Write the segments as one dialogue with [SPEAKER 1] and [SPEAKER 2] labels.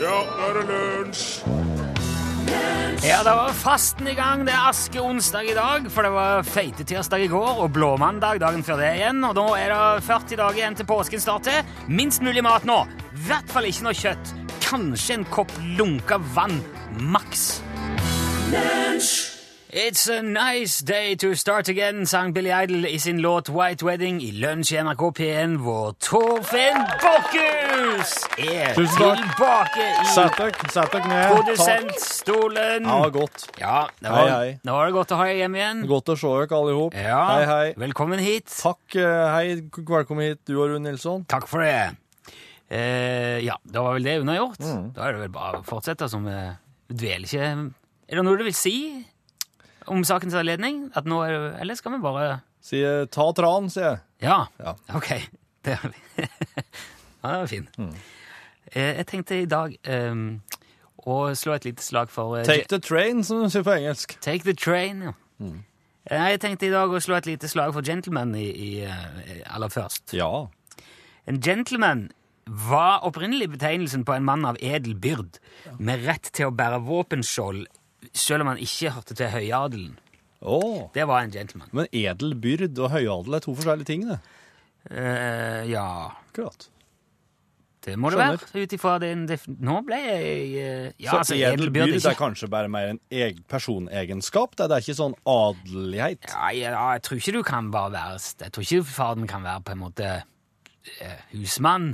[SPEAKER 1] Ja, nå er det lunsj!
[SPEAKER 2] Ja, da var fasten i gang. Det er askeonsdag i dag, for det var feitetirsdag i går og blåmandag dagen før det igjen. Og nå er det 40 dager igjen til påsken starter. Minst mulig mat nå. I hvert fall ikke noe kjøtt. Kanskje en kopp lunka vann. Maks. It's a nice day to start again, sang Billy Idol i sin låt White Wedding i lunsj i NRK P1, hvor Torfinn Bokkhus er
[SPEAKER 3] Tusen takk.
[SPEAKER 2] tilbake i
[SPEAKER 3] Sett dere, sett dere ned.
[SPEAKER 2] produsentstolen.
[SPEAKER 3] Ja, godt.
[SPEAKER 2] Ja, det var,
[SPEAKER 3] Hei, hei.
[SPEAKER 2] nå var det godt å ha deg hjem igjen.
[SPEAKER 3] Mm. Godt å se dere alle sammen.
[SPEAKER 2] Ja,
[SPEAKER 3] Hei, hei.
[SPEAKER 2] Velkommen hit.
[SPEAKER 3] Takk, eh, hei, k- velkommen hit, du og Rune Nilsson.
[SPEAKER 2] Takk for det. Eh, ja, da var vel det unnagjort.
[SPEAKER 3] Mm.
[SPEAKER 2] Da er det vel bare å fortsette som eh, Du dveler ikke Er det noe du vil si om sakens anledning? At nå er det, eller skal vi bare
[SPEAKER 3] Sier ta tran, sier jeg.
[SPEAKER 2] Ja,
[SPEAKER 3] Ja.
[SPEAKER 2] ok. Det, ja, det var fin.
[SPEAKER 3] Mm.
[SPEAKER 2] Eh, jeg tenkte i dag eh, å slå et lite slag for eh,
[SPEAKER 3] Take the train, som de sier på engelsk.
[SPEAKER 2] Take the train, ja. Eh, Jeg tenkte i dag å slå et lite slag for gentleman i, i, eh, aller først.
[SPEAKER 3] Ja.
[SPEAKER 2] En gentleman var opprinnelig betegnelsen på en mann av edel byrd, med rett til å bære våpenskjold selv om han ikke hørte til høyadelen.
[SPEAKER 3] Å.
[SPEAKER 2] Det var en gentleman.
[SPEAKER 3] Men edel byrd og høyadel er to forskjellige ting, det.
[SPEAKER 2] Eh, ja
[SPEAKER 3] Akkurat.
[SPEAKER 2] Det må det
[SPEAKER 3] Skjønner.
[SPEAKER 2] være. Ut ifra din def... Nå ble jeg eh, Ja,
[SPEAKER 3] Så
[SPEAKER 2] altså,
[SPEAKER 3] edel byrd
[SPEAKER 2] ikke-
[SPEAKER 3] er kanskje bare mer en eg personegenskap. Det er- det er ikke sånn adelighet.
[SPEAKER 2] Ja, jeg, ja, jeg tror ikke du kan bare være Jeg tror ikke faren kan være på en måte eh, husmann.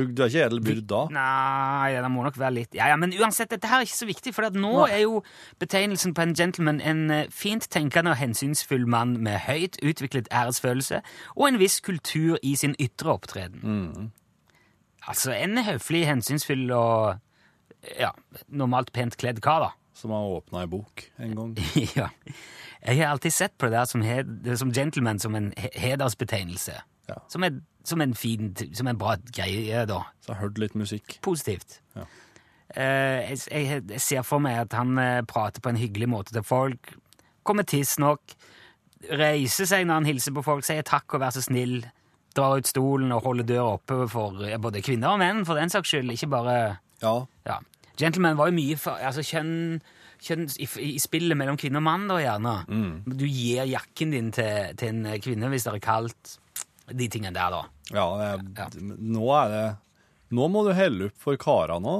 [SPEAKER 3] Du, du er ikke edel byrd da.
[SPEAKER 2] Nei, det må nok være litt Ja, ja, Men uansett, dette her er ikke så viktig, for at nå er jo betegnelsen på en gentleman en eh, fint tenkende og hensynsfull mann med høyt utviklet æresfølelse og en viss kultur i sin ytre opptreden.
[SPEAKER 3] Mm.
[SPEAKER 2] Altså en høflig, hensynsfull og ja, normalt pent kledd kar, da.
[SPEAKER 3] Som har åpna ei bok en gang.
[SPEAKER 2] ja. Jeg har alltid sett på det der som, hed, som gentleman som en he- hedersbetegnelse.
[SPEAKER 3] Ja.
[SPEAKER 2] Som, en, som, en fin, som en bra greie, da
[SPEAKER 3] Så jeg har hørt litt musikk.
[SPEAKER 2] positivt.
[SPEAKER 3] Ja.
[SPEAKER 2] Eh, jeg, jeg, jeg ser for meg at han eh, prater på en hyggelig måte til folk, kommer tidsnok, reiser seg når han hilser på folk, sier takk og vær så snill, drar ut stolen og holder døra oppe for eh, både kvinner og menn, for den saks skyld, ikke bare
[SPEAKER 3] Ja.
[SPEAKER 2] ja. Gentleman var jo mye for, altså kjønn, kjønn i, i spillet mellom kvinne og mann, da, gjerne. Du gir jakken din til, til en kvinne hvis det er kaldt. De tingene der, da.
[SPEAKER 3] Ja, jeg,
[SPEAKER 2] Ja.
[SPEAKER 3] nå er det Nå må du helle opp for kara nå.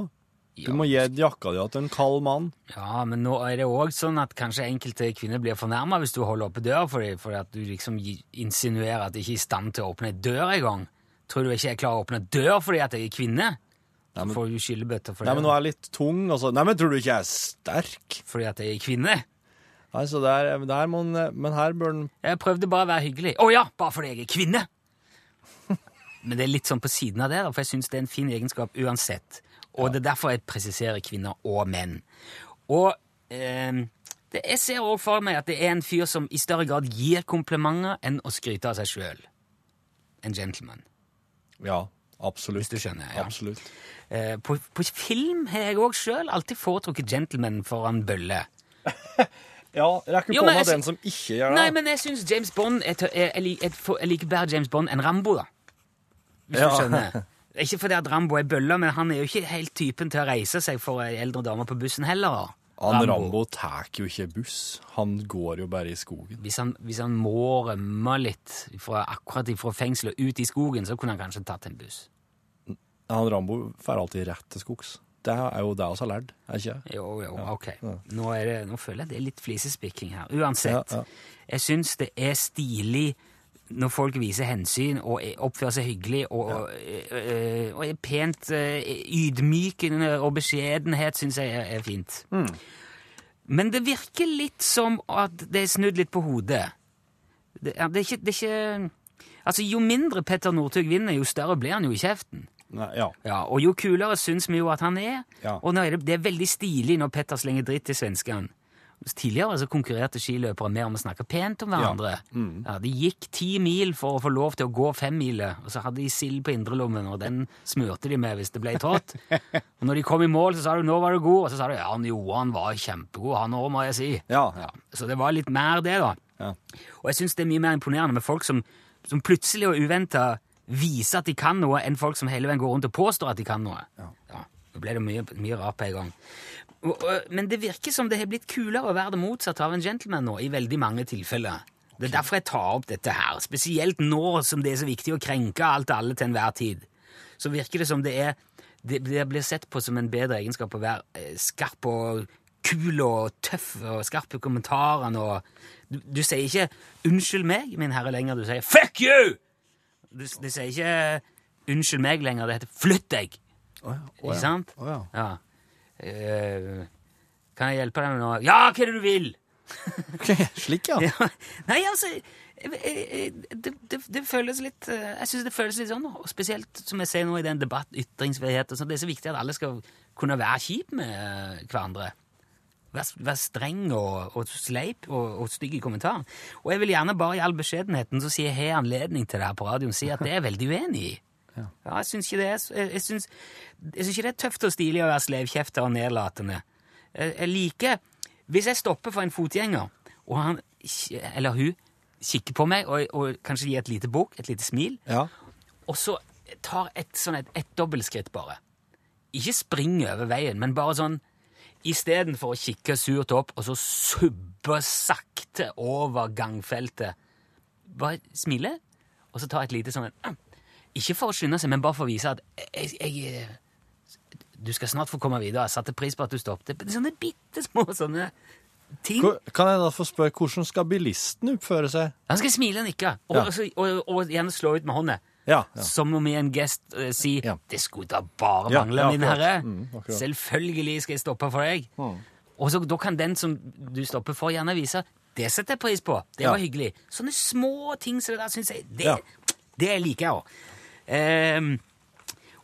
[SPEAKER 3] Du må gi jakka di til en kald mann.
[SPEAKER 2] Ja, men nå er det òg sånn at kanskje enkelte kvinner blir fornærma hvis du holder oppe døra for dem, fordi at du liksom gi- insinuerer at de ikke er i stand til å åpne ei dør engang. Tror du ikke jeg klarer å åpne dør fordi at jeg er kvinne? Da
[SPEAKER 3] men-
[SPEAKER 2] får du skyllebøtter for
[SPEAKER 3] Nei, men nå
[SPEAKER 2] det.
[SPEAKER 3] er jeg litt tung. Altså. Nei, men tror du ikke jeg er sterk?
[SPEAKER 2] Fordi at jeg er kvinne?
[SPEAKER 3] Nei, så der, der må en Men her bør en
[SPEAKER 2] Jeg prøvde bare å være hyggelig. Å ja, bare fordi jeg er kvinne! Men det er litt sånn på siden av det, da, for jeg syns det er en fin egenskap uansett. Og det er derfor jeg presiserer kvinner og menn. Og ehm, det, jeg ser også for meg at det er en fyr som i større grad gir komplimenter enn å skryte av seg sjøl. En gentleman.
[SPEAKER 3] Ja, absolutt.
[SPEAKER 2] Hvis du skjønner, ja.
[SPEAKER 3] Absolutt.
[SPEAKER 2] Eh, på, på film har jeg òg sjøl alltid foretrukket gentleman foran bølle.
[SPEAKER 3] Ja, rekk
[SPEAKER 2] Jo,
[SPEAKER 3] opp
[SPEAKER 2] men
[SPEAKER 3] hånda
[SPEAKER 2] jeg-
[SPEAKER 3] den som ikke gjør det.
[SPEAKER 2] Nei, men jeg syns James Bond er, tø- er, er, li- er, for- jeg liker bedre James Bond enn Rambo, da. Hvis
[SPEAKER 3] Ja.
[SPEAKER 2] du skjønner. Ikke fordi at Rambo er bølla, men han er jo ikke helt typen til å reise seg for ei eldre dame på bussen heller.
[SPEAKER 3] Han Rambo tar jo ikke buss. Han går jo bare i skogen.
[SPEAKER 2] Hvis han, hvis han må rømme litt fra, akkurat fra fengselet og ut i skogen, så kunne han kanskje tatt en buss.
[SPEAKER 3] Han Rambo får alltid rett til skogs. Det er jo det vi har lært, er ikke det?
[SPEAKER 2] Jo, jo, ok. Nå, er det, nå føler jeg det er litt flisespikking her. Uansett,
[SPEAKER 3] Ja, ja.
[SPEAKER 2] jeg syns det er stilig når folk viser hensyn og er- oppfører seg hyggelig og, og, øh, og er pent øh, ydmykende og beskjedenhet, syns jeg er, er fint.
[SPEAKER 3] Mm.
[SPEAKER 2] Men det virker litt som at det er snudd litt på hodet. Det, er- det, er, ikke, det er ikke Altså, Jo mindre Petter Northug vinner, jo større blir han jo i kjeften.
[SPEAKER 3] Nei, ja.
[SPEAKER 2] Ja, og jo kulere syns vi jo at han er.
[SPEAKER 3] Ja.
[SPEAKER 2] Og nå er det, det er veldig stilig når Petter slenger dritt til svenskene. Tidligere så konkurrerte skiløpere mer om å snakke pent om hverandre. Ja.
[SPEAKER 3] Mm.
[SPEAKER 2] De gikk ti mil for å få lov til å gå femmiler, og så hadde de sild på indrelommen, og den smurte de med hvis det ble trått. og når de kom i mål, så sa du 'nå var du god', og så sa du 'ja, han Johan var kjempegod, han òg, må jeg si'.
[SPEAKER 3] Ja, ja.
[SPEAKER 2] Så det var litt mer det, da.
[SPEAKER 3] Ja.
[SPEAKER 2] Og jeg syns det er mye mer imponerende med folk som, som plutselig og uventa viser at de kan noe, enn folk som hele veien går rundt og påstår at de kan noe. Ja. Nå ble det mye, mye rart på en gang. Og, og, men det virker som det har blitt kulere å være det motsatte av en gentleman nå, i veldig mange tilfeller. Det er derfor jeg tar opp dette her. Spesielt nå som det er så viktig å krenke alt og alle til enhver tid. Så virker det som det er Det, det blir sett på som en bedre egenskap å være eh, skarp og kul og tøff og skarp i kommentarene og du, du sier ikke 'unnskyld meg, min herre' lenger. Du sier 'fuck you'! Du, det sier ikke 'unnskyld meg' lenger. Det heter 'flytt deg'.
[SPEAKER 3] Å ja, å ja.
[SPEAKER 2] Ikke sant?
[SPEAKER 3] Å ja.
[SPEAKER 2] Ja. Eh, kan jeg hjelpe deg med noe? Ja, hva er det du vil?
[SPEAKER 3] Ok, slik, ja.
[SPEAKER 2] Ja. Nei, altså jeg- jeg- jeg- det, det, det føles litt eh, Jeg syns det føles litt sånn, og spesielt som jeg ser nå i den debatt, ytringsfrihet og sånn. Det er så viktig at alle skal kunne være kjip med eh, hverandre. Vær, vær streng og, og sleip og, og stygg i kommentaren. Og jeg vil gjerne bare i all beskjedenheten så si jeg har anledning til det her på radioen, si at det er jeg veldig uenig i. Ja, jeg syns ikke det er så- jeg, jeg, syns, jeg syns ikke det er tøft og stilig å være sleivkjefta og nedlatende. Jeg, jeg liker Hvis jeg stopper for en fotgjenger, og han kje- eller hun kikker på meg og, og kanskje gir et lite bukk, et lite smil,
[SPEAKER 3] ja.
[SPEAKER 2] og så tar et, sånn et, et dobbeltskritt bare. Ikke spring over veien, men bare sånn Istedenfor å kikke surt opp og så subbe sakte over gangfeltet. Bare smile, og så ta et lite sånn en, Ikke for å skynde seg, men bare for å vise at jeg, jeg eh, Du skal snart få komme videre. Jeg satte pris på at du stoppet. Det er Sånne bitte små sånne ting.
[SPEAKER 3] Hvor- Kan jeg da få spørre hvordan skal bilisten oppføre seg?
[SPEAKER 2] Han skal smile og nikke, og,
[SPEAKER 3] Ja.
[SPEAKER 2] og, så- og, og gjerne slå ut med hånda.
[SPEAKER 3] Ja, ja.
[SPEAKER 2] Som om i en gest eh, si
[SPEAKER 3] Ja.
[SPEAKER 2] 'Det skulle da bare
[SPEAKER 3] Ja,
[SPEAKER 2] mangle,
[SPEAKER 3] ja,
[SPEAKER 2] min
[SPEAKER 3] akkurat.
[SPEAKER 2] herre'.
[SPEAKER 3] Mm, akkurat. Mm.
[SPEAKER 2] Selvfølgelig skal jeg stoppe for deg. Og så, da kan den som du stopper for, gjerne vise 'Det setter jeg pris på. Det
[SPEAKER 3] Ja.
[SPEAKER 2] var hyggelig'. Sånne små ting som det der syns jeg Det,
[SPEAKER 3] Ja.
[SPEAKER 2] det liker jeg òg. Ehm,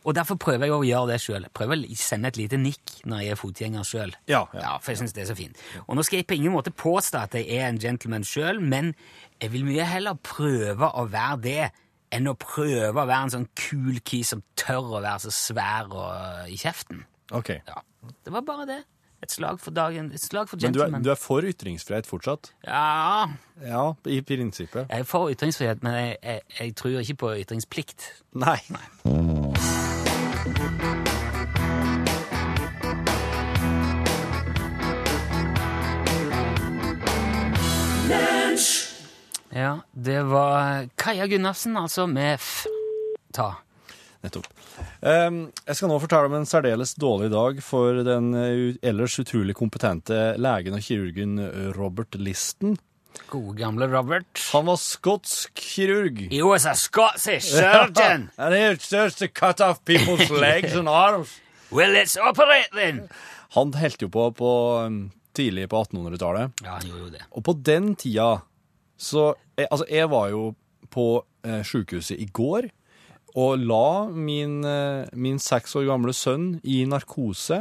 [SPEAKER 2] og derfor prøver jeg å gjøre det sjøl. Prøver å sende et lite nikk når jeg er fotgjenger sjøl.
[SPEAKER 3] Ja, ja.
[SPEAKER 2] for jeg syns det er så fint. Og nå skal jeg på ingen måte påstå at jeg er en gentleman sjøl, men jeg vil mye heller prøve å være det enn å prøve å være en sånn kul kis som tør å være så svær og i kjeften.
[SPEAKER 3] Ok.
[SPEAKER 2] Ja, Det var bare det. Et slag for dagen. Et slag for
[SPEAKER 3] Men du er,
[SPEAKER 2] gentleman.
[SPEAKER 3] du er for ytringsfrihet fortsatt?
[SPEAKER 2] Ja,
[SPEAKER 3] Ja, i prinsippet.
[SPEAKER 2] jeg er for ytringsfrihet, men jeg, jeg, jeg tror ikke på ytringsplikt.
[SPEAKER 3] Nei.
[SPEAKER 2] Ja, det var Kaja Gunnarsen, altså, med F. Ta.
[SPEAKER 3] Nettopp. Ehm, jeg skal nå fortelle om en særdeles dårlig dag for den eh, u- ellers utrolig kompetente legen og kirurgen eh, Robert Listen.
[SPEAKER 2] Gode gamle Robert.
[SPEAKER 3] Han var skotsk kirurg.
[SPEAKER 2] He was a Scottish surgeon.
[SPEAKER 3] And it's just to cut off people's legs and arms.
[SPEAKER 2] Well, let's operate then.
[SPEAKER 3] Han holdt jo på, på um, tidlig på 1800-tallet.
[SPEAKER 2] Ja, han gjorde jo det.
[SPEAKER 3] Og på den tida så jeg, Altså, jeg var jo på eh, sjukehuset i går og la min, eh, min seks år gamle sønn i narkose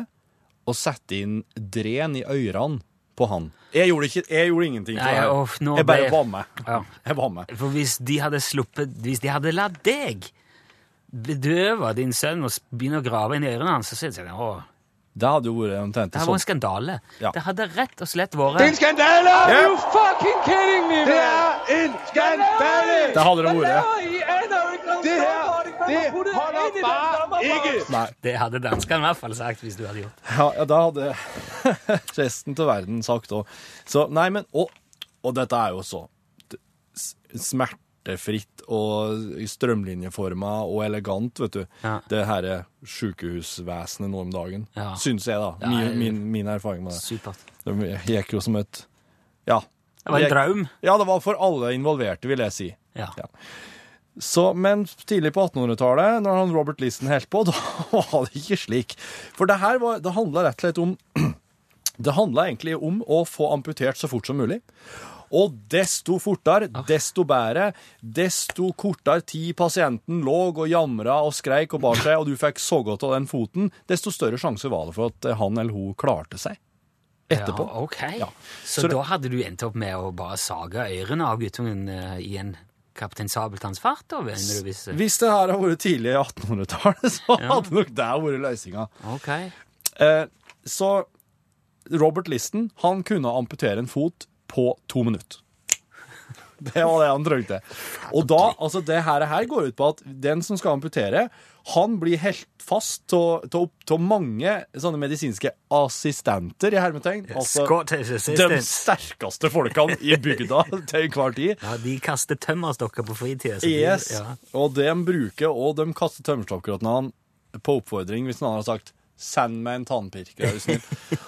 [SPEAKER 3] og sette inn dren i ørene på han. Jeg gjorde, ikke, jeg gjorde ingenting. for
[SPEAKER 2] Nei,
[SPEAKER 3] det her.
[SPEAKER 2] uff, nå
[SPEAKER 3] jeg bare
[SPEAKER 2] ble-
[SPEAKER 3] var med.
[SPEAKER 2] Ja.
[SPEAKER 3] Jeg var med.
[SPEAKER 2] For hvis de hadde sluppet Hvis de hadde latt deg bedøve din sønn og s- begynne å grave inn i ørene hans, så synes jeg å,
[SPEAKER 3] Det hadde jo vært omtrent
[SPEAKER 2] det her
[SPEAKER 3] en
[SPEAKER 2] var en
[SPEAKER 3] sånn
[SPEAKER 2] skandale.
[SPEAKER 3] Ja.
[SPEAKER 2] Det hadde rett og slett vært
[SPEAKER 4] skandale!
[SPEAKER 3] Ja.
[SPEAKER 4] Are you fucking kidding me,
[SPEAKER 5] Det
[SPEAKER 4] man?
[SPEAKER 5] er en skandale!
[SPEAKER 3] Det hadde det
[SPEAKER 4] Hvad
[SPEAKER 3] vært.
[SPEAKER 4] laver I aner jo ikke,
[SPEAKER 5] Det her, det holder bare ikke.
[SPEAKER 3] Nei.
[SPEAKER 2] Det hadde danskene i hvert fall sagt hvis du hadde gjort det.
[SPEAKER 3] Ja, ja da hadde resten av verden sagt òg. Så nei, men Og, og dette er jo så d- s- smertefritt og strømlinjeforma og elegant, vet du.
[SPEAKER 2] Ja.
[SPEAKER 3] Det herre sjukehusvesenet nå om dagen.
[SPEAKER 2] Ja.
[SPEAKER 3] Syns jeg, da.
[SPEAKER 2] Ja,
[SPEAKER 3] Min,
[SPEAKER 2] jeg-
[SPEAKER 3] min, min erfaring med det.
[SPEAKER 2] Supert.
[SPEAKER 3] Det gikk jo som et Ja.
[SPEAKER 2] Det var en
[SPEAKER 3] Gikk-
[SPEAKER 2] drøm.
[SPEAKER 3] Ja, det var for alle involverte, vil jeg si.
[SPEAKER 2] Ja.
[SPEAKER 3] Ja. Så, men tidlig på 1800-tallet, når han Robert Listen holdt på, da var det ikke slik. For det her var, det handla rett og slett om Det handla egentlig om å få amputert så fort som mulig. Og desto fortere, desto bedre, desto kortere tid pasienten lå og jamra og skreik og bar seg, og du fikk så godt av den foten, desto større sjanse var det for at han eller hun klarte seg etterpå.
[SPEAKER 2] Ja, ok.
[SPEAKER 3] Ja.
[SPEAKER 2] Så,
[SPEAKER 3] Så det-
[SPEAKER 2] da hadde du endt opp med å bare sage ørene av guttungen eh, i en Kaptein Sabeltanns fart, da? mener du hvis...
[SPEAKER 3] Hvis det her hadde vært tidlig i 1800-tallet, så
[SPEAKER 2] Ja.
[SPEAKER 3] hadde nok det vært løsninga.
[SPEAKER 2] Ok.
[SPEAKER 3] Eh, så Robert Listen, han kunne amputere en fot på to minutter. Det var det han trengte. Og da, altså det her, her går ut på at den som skal amputere, han blir helt fast av mange sånne medisinske assistenter, i hermetegn. Altså
[SPEAKER 6] Scottish
[SPEAKER 3] de
[SPEAKER 6] assistants.
[SPEAKER 3] sterkeste folkene i bygda til enhver tid.
[SPEAKER 6] Ja, de kaster tømmerstokker på fritida. så de-
[SPEAKER 3] Yes.
[SPEAKER 6] Ja.
[SPEAKER 3] Og de bruker, og de kaster tømmerstokkrottene han på oppfordring hvis noen har sagt 'send meg en tannpirker', er du snill.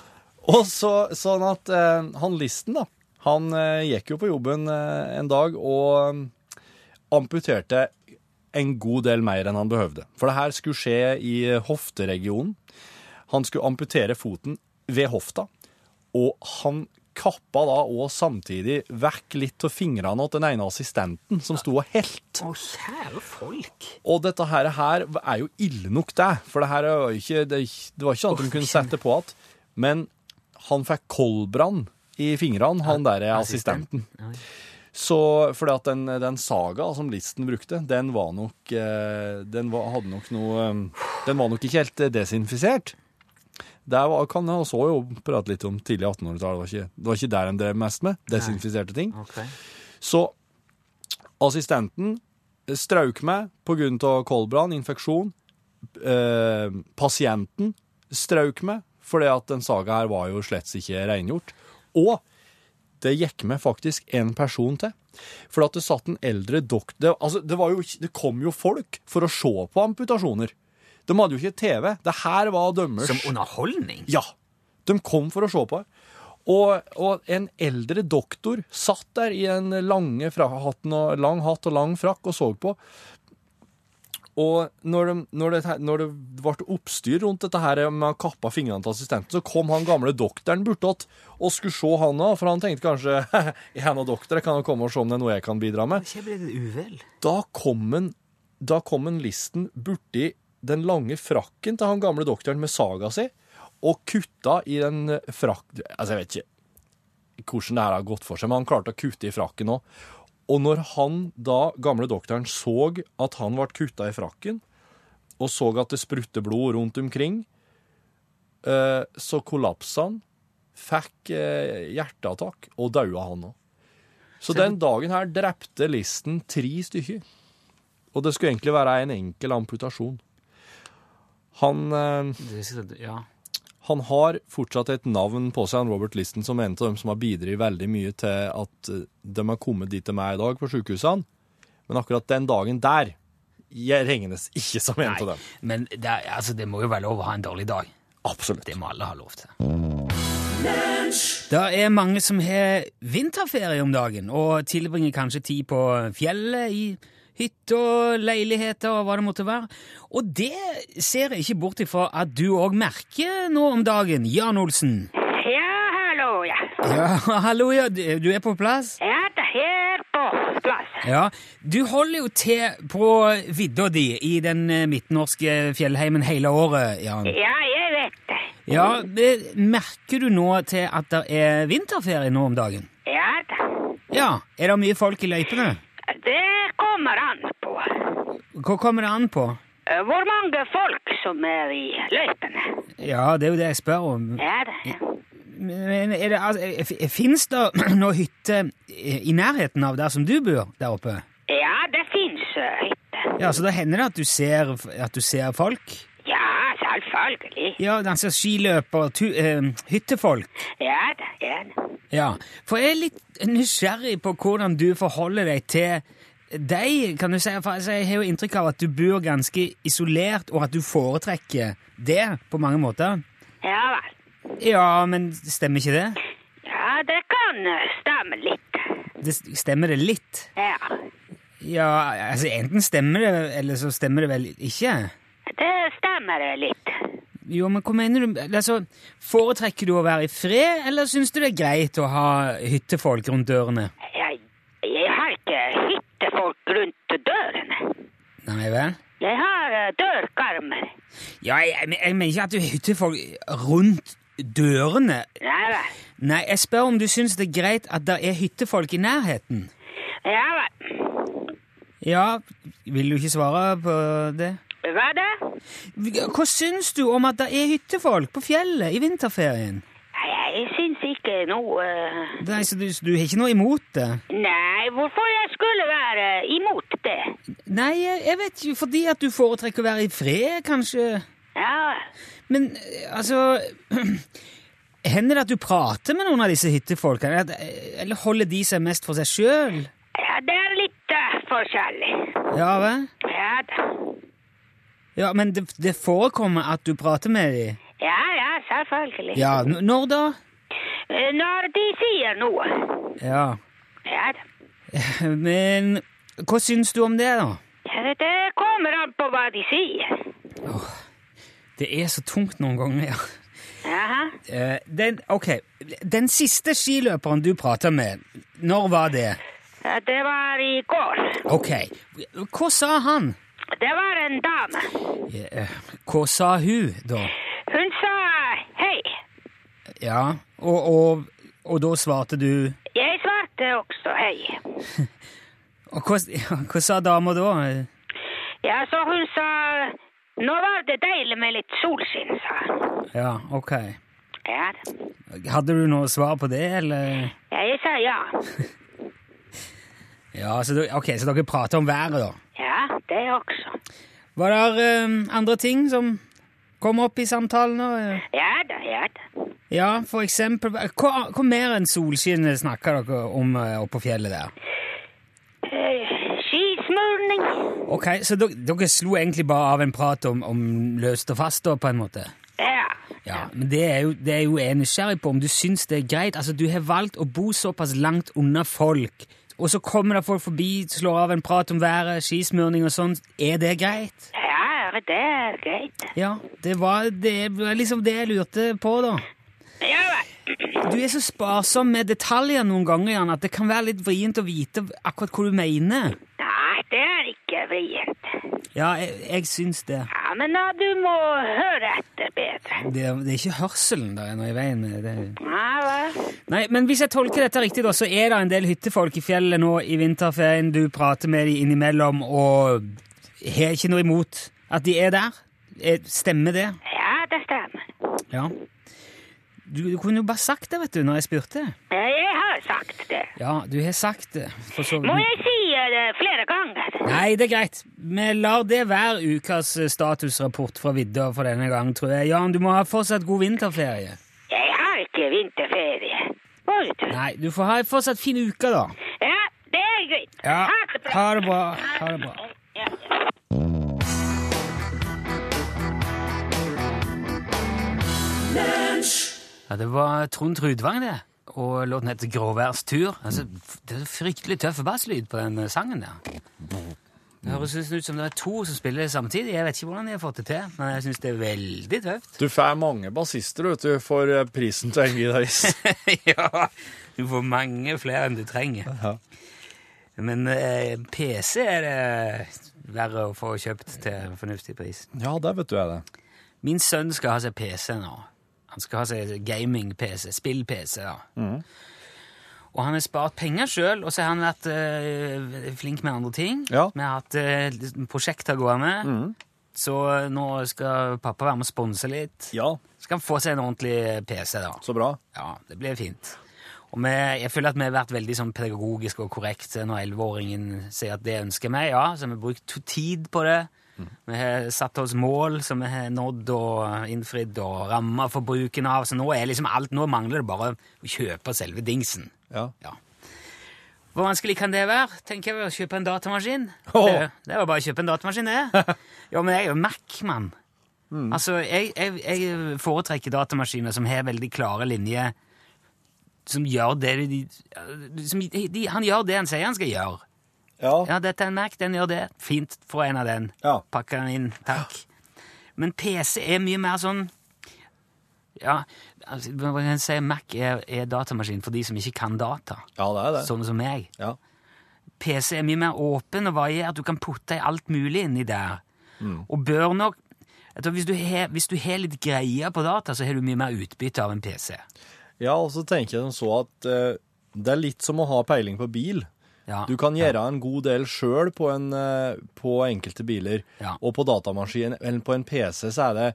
[SPEAKER 3] og så, sånn at eh, han Listen, da, han eh, gikk jo på jobben eh, en dag og eh, amputerte en god del mer enn han behøvde. For det her skulle skje i eh, hofteregionen. Han skulle amputere foten ved hofta, og han kappa da òg samtidig vekk litt av fingrene til den ene assistenten som sto og helt.
[SPEAKER 6] Å, kjære folk!
[SPEAKER 3] Og dette her, her er jo ille nok, det. For det her er jo ikke, det, er ikke- det var ikke sånn at de kunne sette på igjen. Men han fikk koldbrann i fingrene, han der assistenten. Så fordi at den, den saga som listen brukte, den var nok eh, Den var, hadde nok noe eh, Den var nok ikke helt eh, desinfisert. Det var, kan jeg også jo prate litt om tidlig 1800-tall. Det, var ikke- det var ikke der en drev mest med. Desinfiserte ting.
[SPEAKER 6] Ok.
[SPEAKER 3] Så assistenten strauk meg på grunn av koldbrann, infeksjon. Eh, pasienten strauk meg, fordi at den saga her var jo slett ikke rengjort. Og det gikk med faktisk en person til. For at det satt en eldre doktor det, altså, det, var jo, ikke- det kom jo folk for å se på amputasjoner. De hadde jo ikke TV. Det her var dømmers
[SPEAKER 2] Som underholdning?
[SPEAKER 3] ja, de kom for å se på. Og, og en eldre doktor satt der i en lange fra, hatten og, lang hatt og lang frakk og så på. Og når, de, når, det, her- når det ble oppstyr rundt dette her med å kappe fingrene til assistenten, så kom han gamle doktoren bortåt og skulle se han òg, for han tenkte kanskje Jeg er doktor, jeg kan jo komme og se om det er noe jeg kan bidra med.
[SPEAKER 6] Ikke ble det uvel?
[SPEAKER 3] Da kom, en, da kom en listen borti den lange frakken til han gamle doktoren med saga si, og kutta i den frakk... Altså, jeg vet ikke hvordan det her har gått for seg, men han klarte å kutte i frakken òg. Og når han da, gamle doktoren, så at han ble kutta i frakken, og så at det sprutte blod rundt omkring, eh, så kollapsa han, fikk eh, hjerteattakk, og daua han òg. Så den dagen her drepte listen tre stykker. Og det skulle egentlig være en enkel amputasjon. Han, eh,
[SPEAKER 2] Det er sikkert- Ja.
[SPEAKER 3] han har fortsatt et navn på seg, han Robert Listen, som er en av dem som har bidratt veldig mye til at eh, de har kommet dit de er i dag på sykehusene. Men akkurat den dagen der jeg regnes ikke som en av dem.
[SPEAKER 2] Men det, er- altså, det må jo være lov å ha en dårlig dag.
[SPEAKER 3] Absolutt.
[SPEAKER 2] Det må alle ha lov til. Det er mange som har vinterferie om dagen, og tilbringer kanskje tid på fjellet, i hytter, leiligheter og hva det måtte være. Og det ser jeg ikke bort ifra at du òg merker nå om dagen, Jan Olsen.
[SPEAKER 7] Ja, hallo, ja.
[SPEAKER 2] Ja, hallo, ja, du du er på plass?
[SPEAKER 7] Ja, det er her på plass.
[SPEAKER 2] Ja. Du holder jo til på vidda di i den eh, midtnorske fjellheimen hele året, Jan.
[SPEAKER 7] Ja, jeg vet det.
[SPEAKER 2] Ja, det- Merker du nå til at det er vinterferie nå om dagen?
[SPEAKER 7] Ja da.
[SPEAKER 2] Ja, er det mye folk i løypene?
[SPEAKER 7] Det kommer an på
[SPEAKER 2] Hva kommer det an på?
[SPEAKER 7] eh, hvor mange folk som er i løypene.
[SPEAKER 2] Ja, det er jo det jeg spør om.
[SPEAKER 7] Ja da.
[SPEAKER 2] Men er det, altså, Fins det noen hytter i nærheten av der som du bor der oppe?
[SPEAKER 7] Ja, det eh, fins hytter.
[SPEAKER 2] Ja, Så da hender det at du ser, at du ser folk?
[SPEAKER 7] Ja, selvfølgelig.
[SPEAKER 2] Ja, altså skiløper, tu, eh, hyttefolk.
[SPEAKER 7] Ja da, ja da.
[SPEAKER 2] Ja. For jeg er litt nysgjerrig på hvordan du forholder deg til deg, kan du si. For altså, jeg har jo inntrykk av at du bor ganske isolert, og at du foretrekker det på mange måter.
[SPEAKER 7] Ja vel.
[SPEAKER 2] Ja, men stemmer ikke det?
[SPEAKER 7] Ja, det kan eh, stemme litt.
[SPEAKER 2] det stemmer det litt?
[SPEAKER 7] Ja.
[SPEAKER 2] Ja, altså enten stemmer det, eller så stemmer det vel ikke.
[SPEAKER 7] Det stemmer litt.
[SPEAKER 2] Jo, men hva mener du? Altså, foretrekker du å være i fred, eller syns du det er greit å ha hyttefolk rundt dørene?
[SPEAKER 7] Jeg, jeg har ikke hyttefolk rundt dørene.
[SPEAKER 2] Nei vel?
[SPEAKER 7] Jeg har eh, dørkarmer.
[SPEAKER 2] Ja, jeg, jeg, men- jeg mener ikke at du har hyttefolk rundt dørene.
[SPEAKER 7] Ja vel.
[SPEAKER 2] Nei, jeg spør om du syns det er greit at det er hyttefolk i nærheten.
[SPEAKER 7] Ja vel.
[SPEAKER 2] Ja, vil du ikke svare på det?
[SPEAKER 7] Hva da?
[SPEAKER 2] Hva syns du om at det er hyttefolk på fjellet i vinterferien?
[SPEAKER 7] Jeg syns syns ikke noe eh,
[SPEAKER 2] Nei, så du, du har ikke noe imot det?
[SPEAKER 7] Nei, hvorfor jeg skulle være imot det?
[SPEAKER 2] Nei, jeg, jeg vet ikke, fordi at du foretrekker å være i fred, kanskje?
[SPEAKER 7] Ja,
[SPEAKER 2] Men eh, altså Hender det at du prater med noen av disse hyttefolkene? At- eh, Eller holder de seg mest for seg sjøl?
[SPEAKER 7] ja det er litt eh, forskjellig.
[SPEAKER 2] Ja vel?
[SPEAKER 7] Ja da.
[SPEAKER 2] Ja, men det, det forekommer at du prater med dem?
[SPEAKER 7] Ja, ja, selvfølgelig.
[SPEAKER 2] Ja, n- når da?
[SPEAKER 7] Eh, Når de sier noe.
[SPEAKER 2] Ja.
[SPEAKER 7] Ja da.
[SPEAKER 2] Men hva syns du om det, da?
[SPEAKER 7] Ja, Det kommer an på hva de sier.
[SPEAKER 2] Det er så tungt noen ganger, ja.
[SPEAKER 7] Jaha.
[SPEAKER 2] Eh, Den, ok, den siste skiløperen du prater med, når var det?
[SPEAKER 7] Ja, Eh, Det var i går.
[SPEAKER 2] Ok, hva sa han?
[SPEAKER 7] Det var en dame.
[SPEAKER 2] Eh, Hva sa hun, da?
[SPEAKER 7] Hun sa hei.
[SPEAKER 2] Ja, og, og, og da svarte du
[SPEAKER 7] Jeg svarte også hei.
[SPEAKER 2] Og hva, ja, hva sa dama da?
[SPEAKER 7] Ja, så hun sa Nå var det deilig med litt solskinn, sa hun.
[SPEAKER 2] Ja, ok.
[SPEAKER 7] Ja da.
[SPEAKER 2] Hadde du noe svar på det, eller?
[SPEAKER 7] Ja, jeg sa ja.
[SPEAKER 2] Ja, så, du- ok, så dere prater om været, da.
[SPEAKER 7] Ja, det også.
[SPEAKER 2] Var det eh, andre ting som kom opp i samtalen? da?
[SPEAKER 7] Ja da, ja da.
[SPEAKER 2] Ja, for eksempel Hva, hva mer enn solskinn snakker dere om eh, oppe på fjellet der?
[SPEAKER 7] Eh, Skismurning.
[SPEAKER 2] Ok, Så dere, dere slo egentlig bare av en prat om, om løst og fast, da, på en måte?
[SPEAKER 7] Ja.
[SPEAKER 2] Ja, men det er, jo, det er jo jeg nysgjerrig på, om du syns det er greit. Altså, Du har valgt å bo såpass langt unna folk, og så kommer det folk forbi, slår av en prat om været, skismurning og sånn. Er det greit?
[SPEAKER 7] Ja, det er greit.
[SPEAKER 2] Ja, det var, det var liksom det jeg lurte på, da.
[SPEAKER 7] Ja vel.
[SPEAKER 2] Du er så sparsom med detaljer noen ganger, Jan, at det kan være litt vrient å vite akkurat hva du mener.
[SPEAKER 7] Nei, det er ikke vrient.
[SPEAKER 2] Ja, jeg, jeg syns det.
[SPEAKER 7] Ja, men da, du må høre etter bedre.
[SPEAKER 2] det. Det er ikke hørselen der er noe i veien med det.
[SPEAKER 7] Ja vel.
[SPEAKER 2] Nei, men hvis jeg tolker dette riktig, da, så er det en del hyttefolk i fjellet nå i vinterferien. Du prater med dem innimellom og har ikke noe imot at de er der. Eh, Stemmer det?
[SPEAKER 7] Ja, det stemmer.
[SPEAKER 2] Ja. Du, du kunne jo bare sagt det, vet du, når jeg spurte.
[SPEAKER 7] Ja, Jeg har sagt det.
[SPEAKER 2] Ja, du har sagt det. For så
[SPEAKER 7] Må jeg si eh, det flere ganger?
[SPEAKER 2] Nei, det er greit. Vi lar det være ukas eh, statusrapport fra vidda for denne gang, tror jeg. Jan, du må ha fortsatt god vinterferie.
[SPEAKER 7] Jeg har ikke vinterferie. Oi, du.
[SPEAKER 2] Nei, du får ha en fortsatt fin uke, da.
[SPEAKER 7] Ja, det er greit. Ha det bra.
[SPEAKER 2] Ha det bra. Ha det bra.
[SPEAKER 7] Ja, ja.
[SPEAKER 2] Ja, det var Trond Trudvang, det. Og låten heter Gråværstur. Altså, f- det er fryktelig tøff basslyd på den eh, sangen der. Det høres nesten ut som det er to som spiller samtidig. Jeg vet ikke hvordan de har fått det til, men jeg syns det er veldig tøft.
[SPEAKER 3] Du får mange bassister, vet du, for eh, prisen til en gitarist.
[SPEAKER 2] ja, du får mange flere enn du trenger. Men eh, PC er det verre å få kjøpt til en fornuftig pris.
[SPEAKER 3] ja, det vet du jeg det.
[SPEAKER 2] Min sønn skal ha seg PC nå. Han skal ha seg gaming-PC, spill-PC. ja.
[SPEAKER 3] Mm.
[SPEAKER 2] Og han har spart penger sjøl, og så har han vært eh, flink med andre ting.
[SPEAKER 3] Ja. Mm.
[SPEAKER 2] Vi har hatt eh, liksom prosjekter gående. Så nå skal pappa være med og sponse litt.
[SPEAKER 3] Ja,
[SPEAKER 2] Så skal han få seg en ordentlig PC, da.
[SPEAKER 3] så bra.
[SPEAKER 2] Ja, det blir fint. Og vi, jeg føler at vi har vært veldig sånn pedagogiske og korrekte når 11-åringen sier at det ønsker meg. Ja, så vi har brukt tid på det.
[SPEAKER 3] Mm.
[SPEAKER 2] Vi har satt oss mål som vi har nådd og innfridd, og rammer for bruken av. Så nå er liksom alt, nå mangler det bare å kjøpe selve dingsen.
[SPEAKER 3] Ja.
[SPEAKER 2] Ja. Hvor vanskelig kan det være? Tenker jeg å kjøpe en datamaskin.
[SPEAKER 3] Åh.
[SPEAKER 2] Det, det er jo bare å kjøpe en datamaskin, det. Ja, men jeg er jo Mac-mann.
[SPEAKER 3] Mm.
[SPEAKER 2] Altså, jeg, jeg, jeg foretrekker datamaskiner som har veldig klare linjer, som gjør det de, som de Han gjør det han sier han skal gjøre.
[SPEAKER 3] Ja.
[SPEAKER 2] Ja, dette er en Mac, den gjør det. Fint, få en av den.
[SPEAKER 3] Ja.
[SPEAKER 2] Pakke den inn, takk. Men PC er mye mer sånn Ja, altså, hva kan jeg si? Mac er, er datamaskin for de som ikke kan data.
[SPEAKER 3] ja, det er det.
[SPEAKER 2] Sånn som meg.
[SPEAKER 3] Ja.
[SPEAKER 2] PC er mye mer åpen og variert. Du kan putte i alt mulig inni der.
[SPEAKER 8] Mm.
[SPEAKER 2] Og bør nok jeg tror hvis du, har, hvis du har litt greie på data, så har du mye mer utbytte av en PC.
[SPEAKER 3] ja, og så tenker jeg som så at eh, det er litt som å ha peiling på bil.
[SPEAKER 2] Ja.
[SPEAKER 3] Du kan gjøre en god del sjøl på, en, eh, på enkelte biler,
[SPEAKER 2] Ja.
[SPEAKER 3] og på datamaskin eller på en PC så er det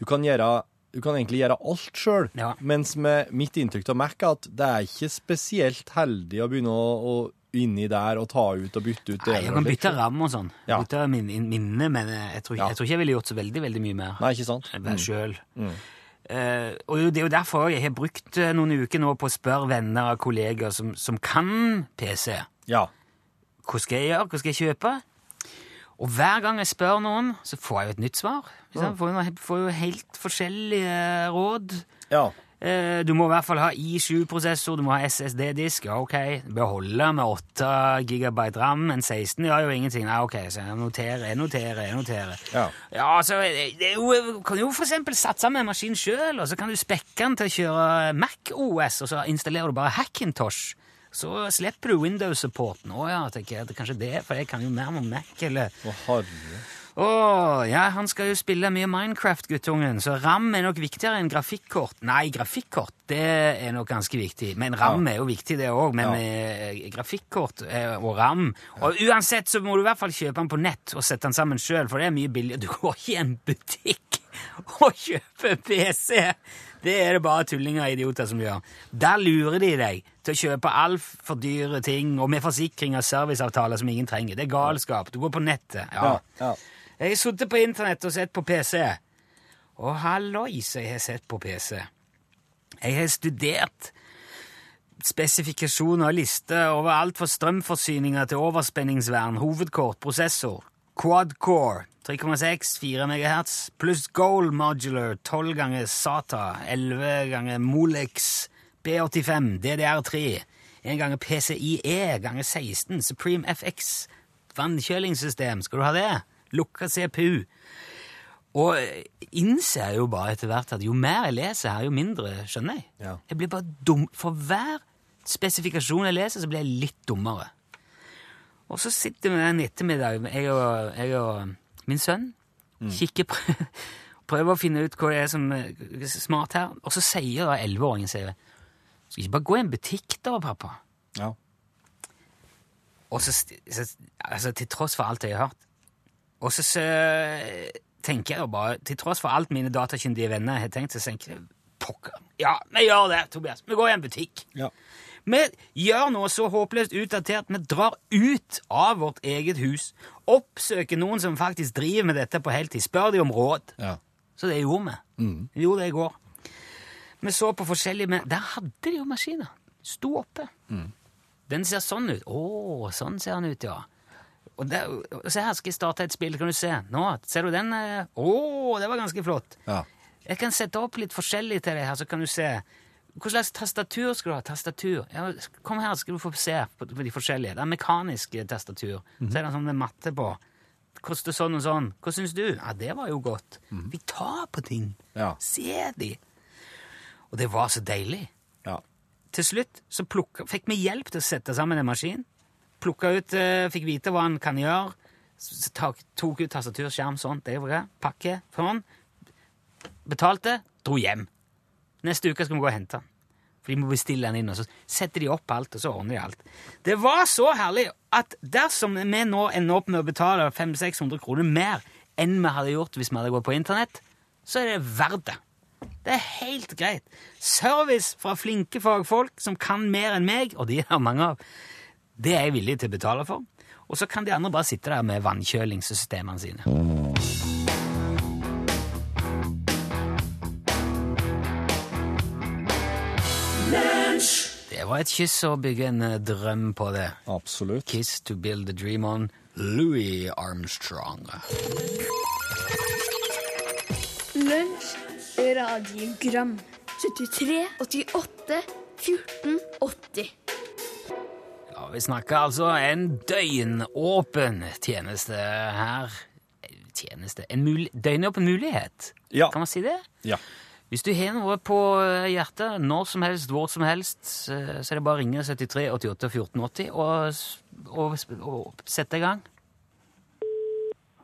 [SPEAKER 3] Du kan gjøre du kan egentlig gjøre alt sjøl.
[SPEAKER 2] Ja.
[SPEAKER 3] Mens med mitt inntrykk av Mac er at det er ikke spesielt heldig å begynne å, å inni der og ta ut og bytte ut
[SPEAKER 2] Nei, jeg
[SPEAKER 3] og
[SPEAKER 2] kan
[SPEAKER 3] slikt.
[SPEAKER 2] bytte ram og sånn.
[SPEAKER 3] Ja.
[SPEAKER 2] Bytte min, min- minne, men jeg tror, ikke-
[SPEAKER 3] Ja.
[SPEAKER 2] jeg tror ikke jeg ville gjort så veldig, veldig mye mer.
[SPEAKER 3] Nei, ikke sant? Mm.
[SPEAKER 2] Vær sjøl. Eh, og jo, det er jo derfor jeg har brukt eh, noen uker nå på å spørre venner og kolleger som, som kan PC.
[SPEAKER 3] Ja.
[SPEAKER 2] Hva skal jeg gjøre? Hva skal jeg kjøpe? Og hver gang jeg spør noen, så får jeg jo et nytt svar. ikke
[SPEAKER 3] Mm.
[SPEAKER 2] sant? Får jo, noe- får jo helt forskjellige råd.
[SPEAKER 3] ja.
[SPEAKER 2] Eh, Du må i hvert fall ha i7-prosessor, du må ha SSD-disk. Ja, ok. Beholde med 8 GB ram, men 16 gjør jo ingenting. Nei, ok, så jeg noterer, jeg noterer, jeg noterer.
[SPEAKER 3] Ja.
[SPEAKER 2] Ja, så det er jo, kan du jo for eksempel satse med en maskin selv, og så kan du spekke den til å kjøre Mac OS, og så installerer du bare Hackintosh. Så slipper du Windows-supporten. Å ja, tenker jeg, det er kanskje det, for jeg kan jo mer om Mac, eller...
[SPEAKER 3] Å, herre.
[SPEAKER 2] Å, ja, han skal jo spille mye Minecraft, guttungen, så RAM er nok viktigere enn grafikkort. Nei, grafikkort, det er nok ganske viktig. Men RAM er jo viktig, det òg. Men eh, grafikkort eh, og RAM Og uansett så må du i hvert fall kjøpe den på nett og sette den sammen sjøl, for det er mye billigere. Du går ikke i en butikk og kjøper PC! Det er det bare tullinger og idioter som gjør. Der lurer de deg til å kjøpe altfor dyre ting, og med forsikring og serviceavtaler som ingen trenger. Det er galskap. Du går på nettet.
[SPEAKER 3] Ja.
[SPEAKER 2] ja.
[SPEAKER 3] ja.
[SPEAKER 2] Jeg har sittet på internett og sett på PC. Og hallois, jeg har sett på PC. Jeg har studert spesifikasjoner og lister over alt fra strømforsyninger til overspenningsvern, hovedkort, prosessor, quad-core, 3,6, 4 MHz, pluss goal modular, 12 ganger SATA, 11 ganger Molex, B85, DDR3, 1 ganger PCIe E, ganger 16, Supreme FX, vannkjølingssystem, skal du ha det? Lukka CPU. Og innser jo bare etter hvert at jo mer jeg leser her, jo mindre skjønner jeg.
[SPEAKER 3] Ja.
[SPEAKER 2] Jeg blir bare dum. For hver spesifikasjon jeg leser, så blir jeg litt dummere. Og så sitter vi en ettermiddag, jeg og, jeg og min sønn, kikker prø- prøver å finne ut hva det er som er smart her, og så sier da 11-åringen, sier, skal ikke bare gå i en butikk da, pappa?
[SPEAKER 3] Ja.
[SPEAKER 2] Og så, st- så altså, til tross for alt jeg har hørt Og så, så tenker jeg jo bare Til tross for alt mine datakyndige venner har tenkt, så tenker jeg pokker. Ja, vi gjør det, Tobias. Vi går i en butikk.
[SPEAKER 3] Ja.
[SPEAKER 2] Vi gjør noe så håpløst utdatert. Vi drar ut av vårt eget hus. Oppsøker noen som faktisk driver med dette på heltid. Spør de om råd.
[SPEAKER 3] Ja.
[SPEAKER 2] Så det gjorde vi.
[SPEAKER 3] Mm,
[SPEAKER 2] Vi gjorde det i går. Vi så på forskjellige men Der hadde de jo maskiner. Sto oppe. Den ser sånn ut. Å, sånn ser den ut, ja. Og der, og se her, skal jeg starte et spill, kan du se. Nå, ser du den? eh? Å, det var ganske flott.
[SPEAKER 3] Ja.
[SPEAKER 2] Jeg kan sette opp litt forskjellig til deg her, så kan du se. Hva slags tastatur skal du ha? Tastatur. Ja, kom her, skal du få se på på de forskjellige. Det er mekaniske tastatur. Så er det en sånn med matte på. Koster sånn og sånn. Hva syns du? Ja, det var jo godt. Vi tar på ting.
[SPEAKER 3] Ja.
[SPEAKER 2] Se de. Og det var så deilig.
[SPEAKER 3] Ja.
[SPEAKER 2] Til slutt så plukka, fikk vi hjelp til å sette sammen en maskin. Plukka ut, eh, fikk vite hva han kan gjøre. S- s- Tok, tok ut tastatur, skjerm, sånn, det var det. Pakke, sånn. Betalte, dro hjem. Neste uke skal vi gå og hente han. For de må bestille den inn, og så setter de opp alt, og så ordner de alt. Det var så herlig at dersom vi nå ender opp med å betale 500-600 kroner mer enn vi hadde gjort hvis vi hadde gått på internett, så er det verdt det. Det er helt greit. Service fra flinke fagfolk som kan mer enn meg, og de er mange av, det er jeg villig til å betale for. Og så kan de andre bare sitte der med vannkjølingssystemene sine. Det var et kyss å bygge en eh, drøm på det.
[SPEAKER 3] Absolutt.
[SPEAKER 2] Kiss to build a dream on Louis Armstrong.
[SPEAKER 9] Lunsj, radiogram 73, 88, 14, 80
[SPEAKER 2] Ja, Vi snakker altså en døgnåpen tjeneste her. Eh, Tjeneste En mul døgnåpen mulighet,
[SPEAKER 3] Ja.
[SPEAKER 2] kan man si det?
[SPEAKER 3] Ja.
[SPEAKER 2] Hvis du har noe på eh, hjertet når som helst, hvor som helst, eh, så er det bare å ringe 73 88 14 80 og, s- og, s- og sette i gang.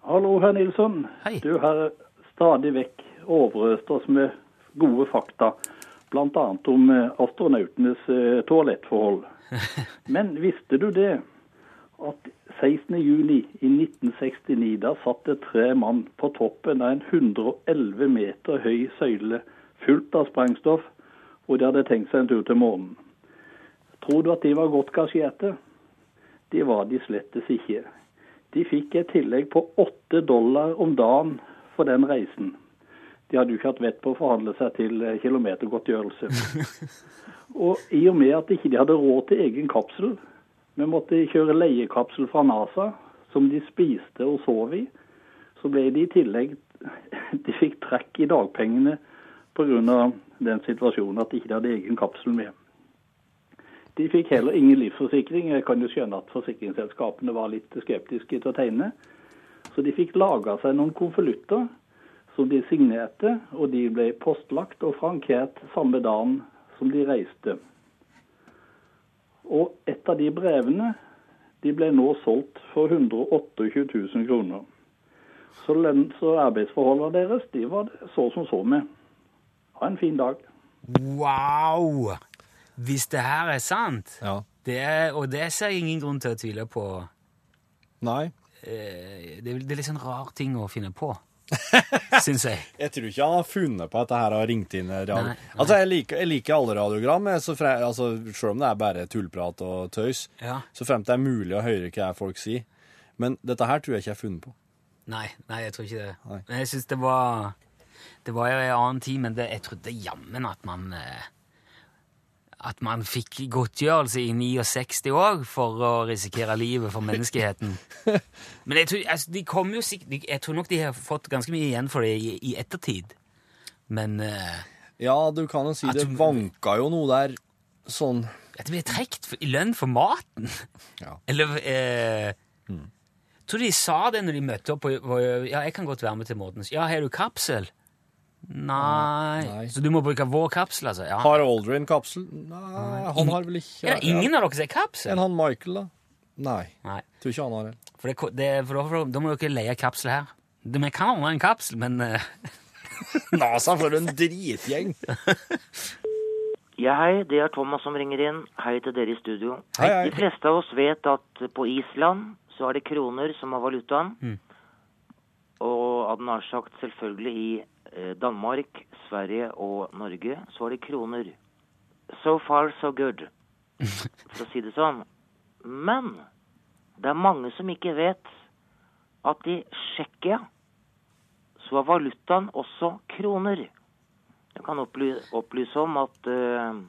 [SPEAKER 10] Hallo, herr Nilsson.
[SPEAKER 2] Hei.
[SPEAKER 10] Du har stadig vekk overøst oss med gode fakta, bl.a. om eh, astronautenes eh, toalettforhold. Men visste du det? At 16. juni i 1969, da satt det tre mann på toppen av en 111 meter høy søyle fullt av sprengstoff, og de hadde tenkt seg en tur til månen. Tror du at de var godt gasjerte? Det var de slettes ikke. De fikk et tillegg på åtte dollar om dagen for den reisen. De hadde jo ikke hatt vett på å forhandle seg til eh, kilometergodtgjørelse. Og i og med at ikke de hadde råd til egen kapsel, men måtte kjøre leiekapsel fra NASA, som de spiste og sov i, så ble de i tillegg De fikk trekk i dagpengene pga. den situasjonen at de ikke hadde egen kapsel med. De fikk heller ingen livsforsikring. Jeg kan jo skjønne at forsikringsselskapene var litt skeptiske til å tegne. Så de fikk laga seg noen konvolutter som de signerte, og de ble postlagt og frankert samme dagen som de reiste. Og et av de brevene de ble nå solgt for 128 000 kroner. Så lønns- og arbeidsforholdene deres de var det så som så med. Ha en fin dag.
[SPEAKER 2] Wow! Hvis det her er sant,
[SPEAKER 3] Ja.
[SPEAKER 2] det er, og det ser jeg ingen grunn til å tvile på
[SPEAKER 3] Nei.
[SPEAKER 2] eh, Det er, det er litt sånn rar ting å finne på, syns jeg.
[SPEAKER 3] Jeg tror ikke han har funnet på at det her har ringt inn radio.
[SPEAKER 2] Nei, nei.
[SPEAKER 3] Altså, jeg liker, jeg liker alle radiogram, jeg, så fre, altså, selv om det er bare tullprat og tøys,
[SPEAKER 2] Ja.
[SPEAKER 3] så fremt det er mulig å høre hva folk sier. Men dette her tror jeg ikke jeg har funnet på.
[SPEAKER 2] Nei, nei, jeg tror ikke det.
[SPEAKER 3] Nei.
[SPEAKER 2] Men jeg syns det var Det var jo en annen tid, men det, jeg trodde jammen at man eh, At man fikk godtgjørelse i 69 år for å risikere livet for menneskeheten. Men jeg tror, altså, de kom jo sikk- de- jeg tror nok de har fått ganske mye igjen for det i, i ettertid. Men eh,
[SPEAKER 3] Ja, du kan jo si
[SPEAKER 2] Jeg
[SPEAKER 3] det
[SPEAKER 2] tror-
[SPEAKER 3] vanka jo noe der, sånn...
[SPEAKER 2] at det blir trukket for- i lønn for maten
[SPEAKER 3] Ja.
[SPEAKER 2] Eller eh, Tror du de sa det når de møtte opp? på- på- ja, jeg kan godt være med til Mortens. Ja, har du kapsel? Nei.
[SPEAKER 3] Nei.
[SPEAKER 2] Så du må bruke vår kapsel, altså? Ja.
[SPEAKER 3] Har Aldrin kapsel? Nei, han har vel ikke...
[SPEAKER 2] er det ingen av dere som har
[SPEAKER 3] Enn
[SPEAKER 2] kapsel?
[SPEAKER 3] han Michael, da? Nei,
[SPEAKER 2] Nei.
[SPEAKER 3] tror ikke han har det.
[SPEAKER 2] For, det, ko- det, for, da, for da- da må dere leie kapsel her. Det- Vi kan ordne en kapsel, men eh,
[SPEAKER 3] NASA for en dritgjeng!
[SPEAKER 11] Ja, hei, det er Thomas som ringer inn. Hei til dere i studio.
[SPEAKER 3] Hei, hei.
[SPEAKER 11] De fleste av oss vet at på Island så er det kroner som er valutaen.
[SPEAKER 3] Mm.
[SPEAKER 11] Og at nær sagt selvfølgelig i eh, Danmark, Sverige og Norge så er det kroner. So far so good, for å si det sånn. Men det er mange som ikke vet at i Tsjekkia så er valutaen også kroner. Jeg kan opply opplyse om at eh,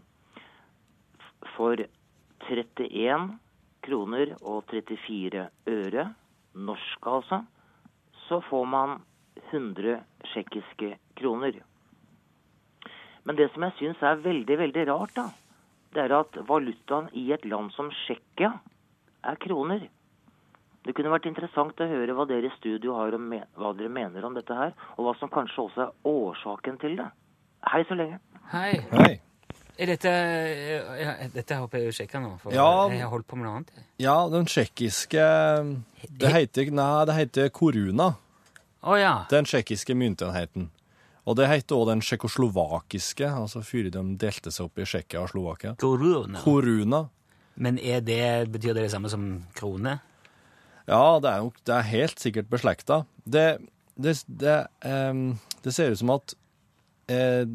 [SPEAKER 11] f- for 31 kroner og 34 øre, norsk altså, så får man 100 tsjekkiske kroner. Men det som jeg syns er veldig, veldig rart, da, det er at valutaen i et land som Tsjekkia er kroner. Det kunne vært interessant å høre hva dere i studio har om, me- hva dere mener om dette her, og hva som kanskje også er årsaken til det. Hei så lenge.
[SPEAKER 2] hei.
[SPEAKER 3] Hei.
[SPEAKER 2] Er dette eh, ja, Dette håper jeg jo sjekker nå, for
[SPEAKER 3] Ja.
[SPEAKER 2] jeg har holdt på med noe annet. jeg.
[SPEAKER 3] Ja, den tsjekkiske Det heter, nei, det heter koruna,
[SPEAKER 2] Å ja.
[SPEAKER 3] den tsjekkiske myntenheten. Og det heter også den tsjekkoslovakiske, altså før de delte seg opp i Tsjekkia og Slovakia.
[SPEAKER 2] Korona.
[SPEAKER 3] Koruna.
[SPEAKER 2] Men er det, betyr det det samme som krone?
[SPEAKER 3] Ja, det er, nok, det er helt sikkert beslekta. Det, det, det, ehm, det ser ut som at eh,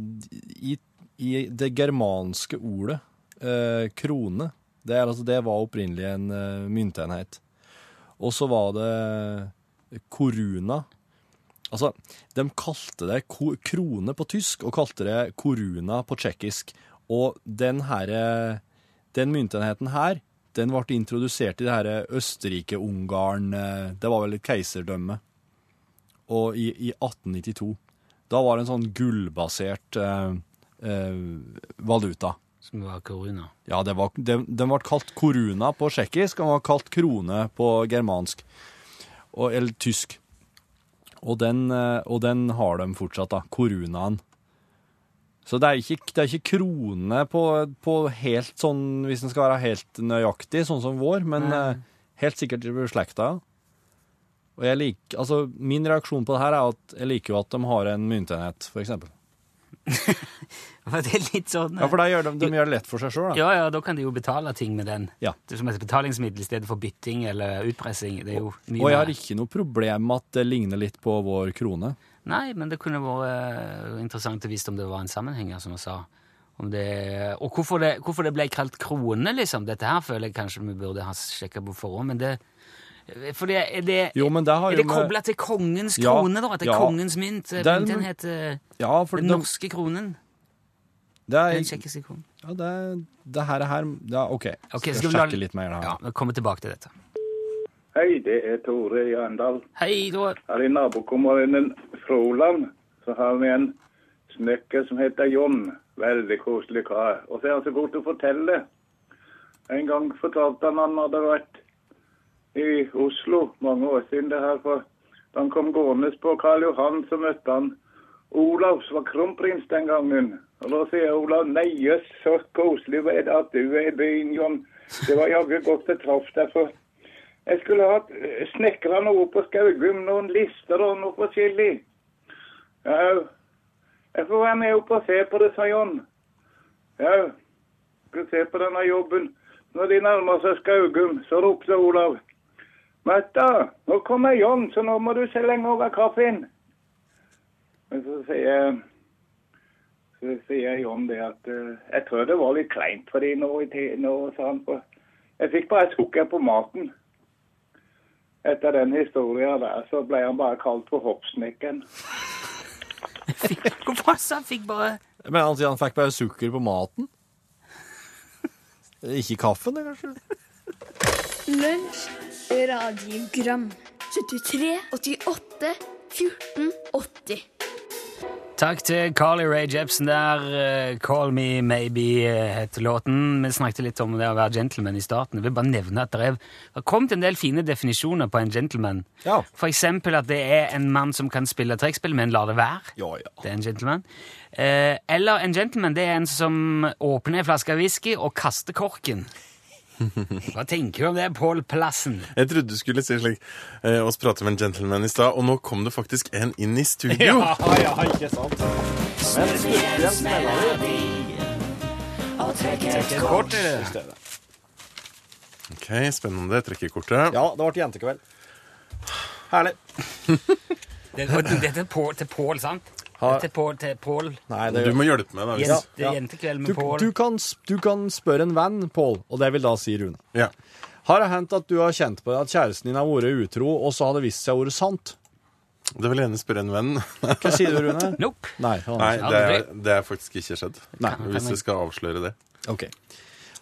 [SPEAKER 3] i, i det germanske ordet eh, krone det, er, altså, det var opprinnelig en eh, myntenhet. Og så var det koruna. Altså, de kalte det ko krone på tysk og kalte det koruna på tsjekkisk. Og den herre den myntenheten her, den ble introdusert i det her Østerrike-Ungarn eh, Det var vel et keiserdømme. Og i, i 1892. Da var det en sånn gullbasert eh, eh, valuta.
[SPEAKER 2] Som var korona.
[SPEAKER 3] Ja, det var, det, den ble kalt koruna på tsjekkisk, og den ble kalt krone på germansk. Og, eller tysk. Og den, eh, og den har de fortsatt, da. Korunaen. Så det er ikke, det er ikke krone på, på helt sånn, hvis den skal være helt nøyaktig, sånn som vår, men eh, helt sikkert beslekta. Og jeg liker, altså, min reaksjon på det her er at jeg liker jo at de har en myntenhet, for eksempel.
[SPEAKER 2] Var det litt sånn
[SPEAKER 3] Ja, for da gjør de, de gjør det lett for seg sjøl, da.
[SPEAKER 2] Ja, ja, da kan de jo betale ting med den.
[SPEAKER 3] Ja.
[SPEAKER 2] Det er som et betalingsmiddel i stedet for bytting eller utpressing. Det er jo mye
[SPEAKER 3] Og jeg har
[SPEAKER 2] mer.
[SPEAKER 3] ikke noe problem med at det ligner litt på vår krone.
[SPEAKER 2] Nei, men det kunne vært eh, interessant å vite om det var en sammenheng, her, som hun sa. Om det, og hvorfor det, hvorfor det ble kalt krone, liksom. Dette her føler jeg kanskje vi burde ha sjekka på forhånd, men det for det, er det,
[SPEAKER 3] Jo, men det har
[SPEAKER 2] er
[SPEAKER 3] jo
[SPEAKER 2] det
[SPEAKER 3] med-
[SPEAKER 2] kobla til kongens
[SPEAKER 3] Ja,
[SPEAKER 2] krone, da? At det er
[SPEAKER 3] ja.
[SPEAKER 2] kongens mynt? eh,
[SPEAKER 3] Den-
[SPEAKER 2] mynten heter
[SPEAKER 3] Ja, for
[SPEAKER 2] den
[SPEAKER 3] den-
[SPEAKER 2] norske kronen.
[SPEAKER 3] Det er,
[SPEAKER 2] Den tsjekkiske kronen.
[SPEAKER 3] ja, det, det her er her Ja, OK. skal
[SPEAKER 2] Ok, skal
[SPEAKER 3] jeg
[SPEAKER 2] vi la-
[SPEAKER 3] sjekke litt mer her.
[SPEAKER 2] Ja, vi kommer tilbake til dette.
[SPEAKER 8] Hei, det er Tore i Arendal.
[SPEAKER 2] Hei, Tore.
[SPEAKER 8] Her i nabokommunen Froland så har vi en snekker som heter John. Veldig koselig kar. Og så er han så god til å fortelle. En gang fortalte han han hadde vært i Oslo mange år siden det her. For da han kom gående på Karl Johan, så møtte han Olav, som var kronprins den gangen. Og da sier Olav nei, jøss, så koselig var det at du er i byen, John. Det var jaggu godt jeg traff deg. for jeg skulle hatt eh, snekra noe på Skaugum, noen lister og noe forskjellig. Jau. Jeg får være med opp og se på det, sa John. Jau. Skal se på denne jobben. Når de nærmer seg Skaugum, så ropte Olav. Märtha, nå kommer John, så nå må du se lenge over kaffen. Men så sier, så sier John det at eh, Jeg tror det var litt kleint for de nå, i ti- nå, sa han. For jeg fikk bare sukker på maten. Etter den historien der, så ble han bare kalt for hoppsnekken.
[SPEAKER 2] Hvorfor sa han fikk bare
[SPEAKER 3] Men han sier han fikk bare sukker på maten. Ikke kaffen, det, kanskje?
[SPEAKER 9] Lunsj, radiogram 73 88 14 80
[SPEAKER 2] Takk til Carly Rae Jepsen der. eh, 'Call Me Maybe' eh, heter låten. Vi snakket litt om det å være gentleman i starten. Jeg vil bare nevne at det er det har kommet en del fine definisjoner på en gentleman. For eksempel at det er en mann som kan spille trekkspill, men lar det være. Det er en gentleman. Eh, Eller en gentleman det er en som åpner en flaske whisky og kaster korken. Hva tenker du om det, Pål Plassen?
[SPEAKER 12] Jeg trodde du skulle si slik eh, oss prate med en gentleman i stad, og nå kom det faktisk en inn i studio.
[SPEAKER 3] ja, ikke sant?
[SPEAKER 12] et kort i Ok, spennende. Trekker kortet.
[SPEAKER 3] Ja, det ble jentekveld. Herlig.
[SPEAKER 2] Det, og det- dette er Pål- til Pål, sant?
[SPEAKER 3] Ha-
[SPEAKER 2] Til Pål. Til Pål.
[SPEAKER 12] Du må hjelpe meg, da. hvis-
[SPEAKER 2] Jente- Jentekveld med
[SPEAKER 3] du,
[SPEAKER 2] Pål.
[SPEAKER 3] du, kan, s- du kan spørre en venn, Pål, og det vil da si Rune.
[SPEAKER 12] Ja.
[SPEAKER 3] Har det hendt at du har kjent på at kjæresten din har vært utro, og så har det vist seg å være sant?
[SPEAKER 12] Det vil jeg gjerne spørre en venn.
[SPEAKER 3] Hva sier du, Rune?
[SPEAKER 2] Nope.
[SPEAKER 3] Nei, han
[SPEAKER 12] Nei
[SPEAKER 3] har ikke.
[SPEAKER 12] det, er, det er faktisk ikke skjedd.
[SPEAKER 3] Nei.
[SPEAKER 12] Hvis du skal avsløre det.
[SPEAKER 3] Ok.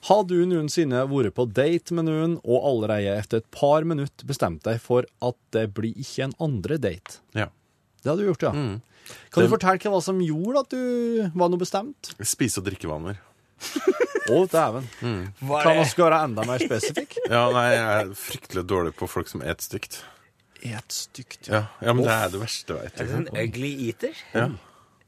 [SPEAKER 3] Har du noensinne vært på date med noen, og allerede etter et par minutter bestemt deg for at det blir ikke en andre date?
[SPEAKER 12] Ja. Mm.
[SPEAKER 3] Det har du gjort, ja. Kan du fortelle hva som gjorde at du var noe bestemt?
[SPEAKER 12] Spise- og drikkevaner.
[SPEAKER 3] Å, dæven. Mm.
[SPEAKER 12] Var
[SPEAKER 3] Kan
[SPEAKER 12] det-
[SPEAKER 3] vi være enda mer spesifikk?
[SPEAKER 12] Ja, nei, jeg er fryktelig dårlig på folk som et stygt.
[SPEAKER 3] Et stygt,
[SPEAKER 12] Ja, ja men det er det verste, veit
[SPEAKER 2] Er det sånn ugly eater?
[SPEAKER 12] Ja.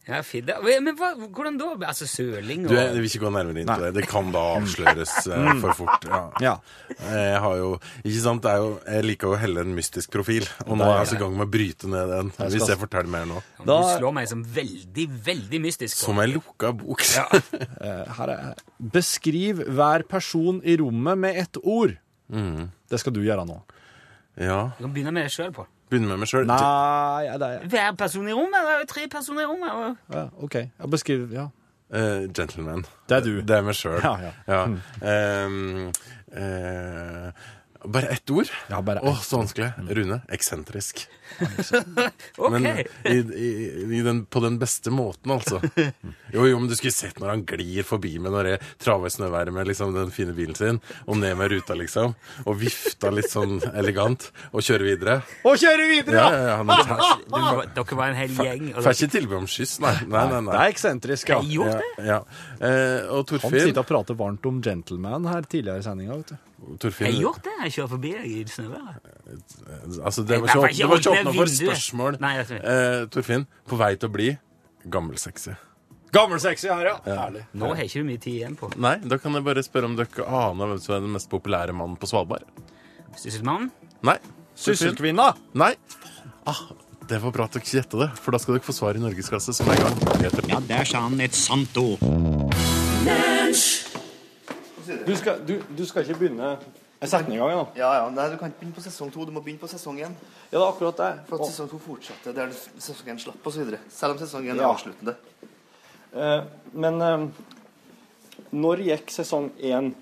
[SPEAKER 2] Ja, fint. da. Men men hva, hvordan da? Altså søling og
[SPEAKER 12] Du, jeg vil ikke gå nærmere inn på det. Det kan da avsløres eh,
[SPEAKER 2] Mm.
[SPEAKER 12] for fort. Ja. Jeg har jo Ikke sant, det er jo Jeg liker jo å helle en mystisk profil, og nå er jeg altså i gang med å bryte ned den.
[SPEAKER 2] Jeg
[SPEAKER 12] Hvis
[SPEAKER 2] skal-
[SPEAKER 12] jeg forteller mer nå.
[SPEAKER 2] Du slår meg som veldig, veldig mystisk.
[SPEAKER 12] Som ei lukka bok.
[SPEAKER 3] Eh, Her er Beskriv hver person i rommet med ett ord. Det skal du gjøre nå.
[SPEAKER 12] Mm. Ja.
[SPEAKER 2] Du kan begynne med deg sjøl, Pål.
[SPEAKER 12] Begynne med meg sjøl.
[SPEAKER 3] Nei, ja, det er
[SPEAKER 2] Hver person i rommet? Det er jo tre personer i rommet. og-
[SPEAKER 3] ja, OK. Ja, beskriv Ja.
[SPEAKER 12] Eh, gentleman.
[SPEAKER 3] Det er du.
[SPEAKER 12] Det er meg sjøl.
[SPEAKER 3] Ja, Mm. ja.
[SPEAKER 12] Eh, eh, bare ett ord?
[SPEAKER 3] Ja, bare Mm.
[SPEAKER 12] Åh, så vanskelig. Rune. Eksentrisk.
[SPEAKER 2] Ok.
[SPEAKER 12] Men eh, i, i, i den, på den beste måten, altså. Jo, jo, men du skulle sett når han glir forbi meg når jeg traver i snøværet med liksom, den fine bilen sin, og ned med ruta, liksom, og vifta litt sånn elegant, og kjøre videre.
[SPEAKER 3] Og kjøre videre!
[SPEAKER 12] Ja, ja, ja, men-
[SPEAKER 2] Du var- Dere var en hel gjeng. altså. og
[SPEAKER 12] Får ikke tilbud om skyss, nei. nei, nei, nei.
[SPEAKER 3] Det er eksentrisk, ja.
[SPEAKER 12] Jeg gjorde det. Ja, ja. Eh, og
[SPEAKER 3] Han
[SPEAKER 12] Torfinn
[SPEAKER 3] sitter og prater varmt om gentleman her tidligere i sendinga.
[SPEAKER 12] Torfinn- Jeg gjorde
[SPEAKER 2] det. Jeg kjører forbi deg i snøværet.
[SPEAKER 12] Altså, det var
[SPEAKER 2] Jeg får
[SPEAKER 12] ikke,
[SPEAKER 2] ikke
[SPEAKER 12] det var ikke
[SPEAKER 2] åpne
[SPEAKER 12] åpna for
[SPEAKER 2] vinduet.
[SPEAKER 12] spørsmål.
[SPEAKER 2] Nei, jeg vet ikke.
[SPEAKER 12] Eh, Torfinn, på vei til å bli gammelsexy.
[SPEAKER 3] Gammelsexy her, ja. Herlig.
[SPEAKER 2] Nå har ikke du mye tid igjen på.
[SPEAKER 12] Nei, da kan jeg bare spørre om dere aner hvem som er den mest populære mannen på Svalbard.
[SPEAKER 2] Sysselmann?
[SPEAKER 12] Nei.
[SPEAKER 3] Sysselkvinna?
[SPEAKER 12] Nei. Ah, det var bra at dere ikke gjetta det, for da skal dere få svar i norgesklasse som er i gang. Ja, der sa han et sant ord.
[SPEAKER 3] Du skal, du, du skal ikke begynne Jeg setter den i gang, ja.
[SPEAKER 13] Ja, ja. Nei, du kan ikke begynne på sesong to. Du må begynne på sesong én.
[SPEAKER 3] Ja, det er akkurat det.
[SPEAKER 13] For
[SPEAKER 3] Og-
[SPEAKER 13] at sesong to fortsetter der sesong én slapp, osv. Selv om sesong én er
[SPEAKER 3] Ja.
[SPEAKER 13] avsluttende.
[SPEAKER 3] Eh, men eh, når gikk sesong én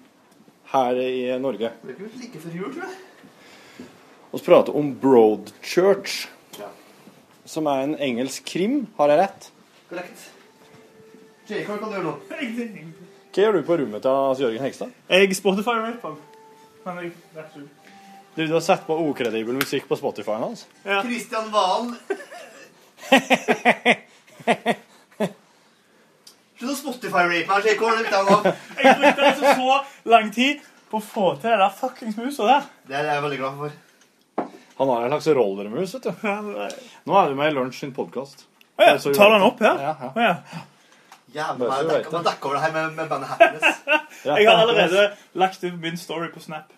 [SPEAKER 3] her i Norge?
[SPEAKER 13] Det er vel like før jul, tror jeg.
[SPEAKER 3] Vi prater om Broadchurch, som er en engelsk krim. Har jeg rett?
[SPEAKER 13] Korrekt. Jake, hva kan du gjøre nå?
[SPEAKER 3] Hva gjør du på rommet til Hans Jørgen Hegstad? Jeg Spotify rapper.
[SPEAKER 14] Men jeg, det er ikke
[SPEAKER 3] Du, du har satt på ukredibel musikk på Spotify-en hans?
[SPEAKER 13] Kristian Valen. Slutt å Spotify-rape meg, Jake. Hva er det ute av nå?
[SPEAKER 14] Jeg brukte altså så lang tid på å få til det der fuckings musa der.
[SPEAKER 13] Det er jeg veldig glad for.
[SPEAKER 3] Han har en slags rollermus, vet du. Nå er du med i Lunsj sin podkast.
[SPEAKER 14] Å ja, tar han opp her?
[SPEAKER 3] Ja,
[SPEAKER 14] Å ja.
[SPEAKER 13] Jævlig,
[SPEAKER 3] Bare så
[SPEAKER 13] jeg
[SPEAKER 3] du vet
[SPEAKER 13] dekker-
[SPEAKER 3] det.
[SPEAKER 13] jeg dekker over det her med, med bandet Happiness.
[SPEAKER 14] Jeg har allerede lagt ut min story på Snap.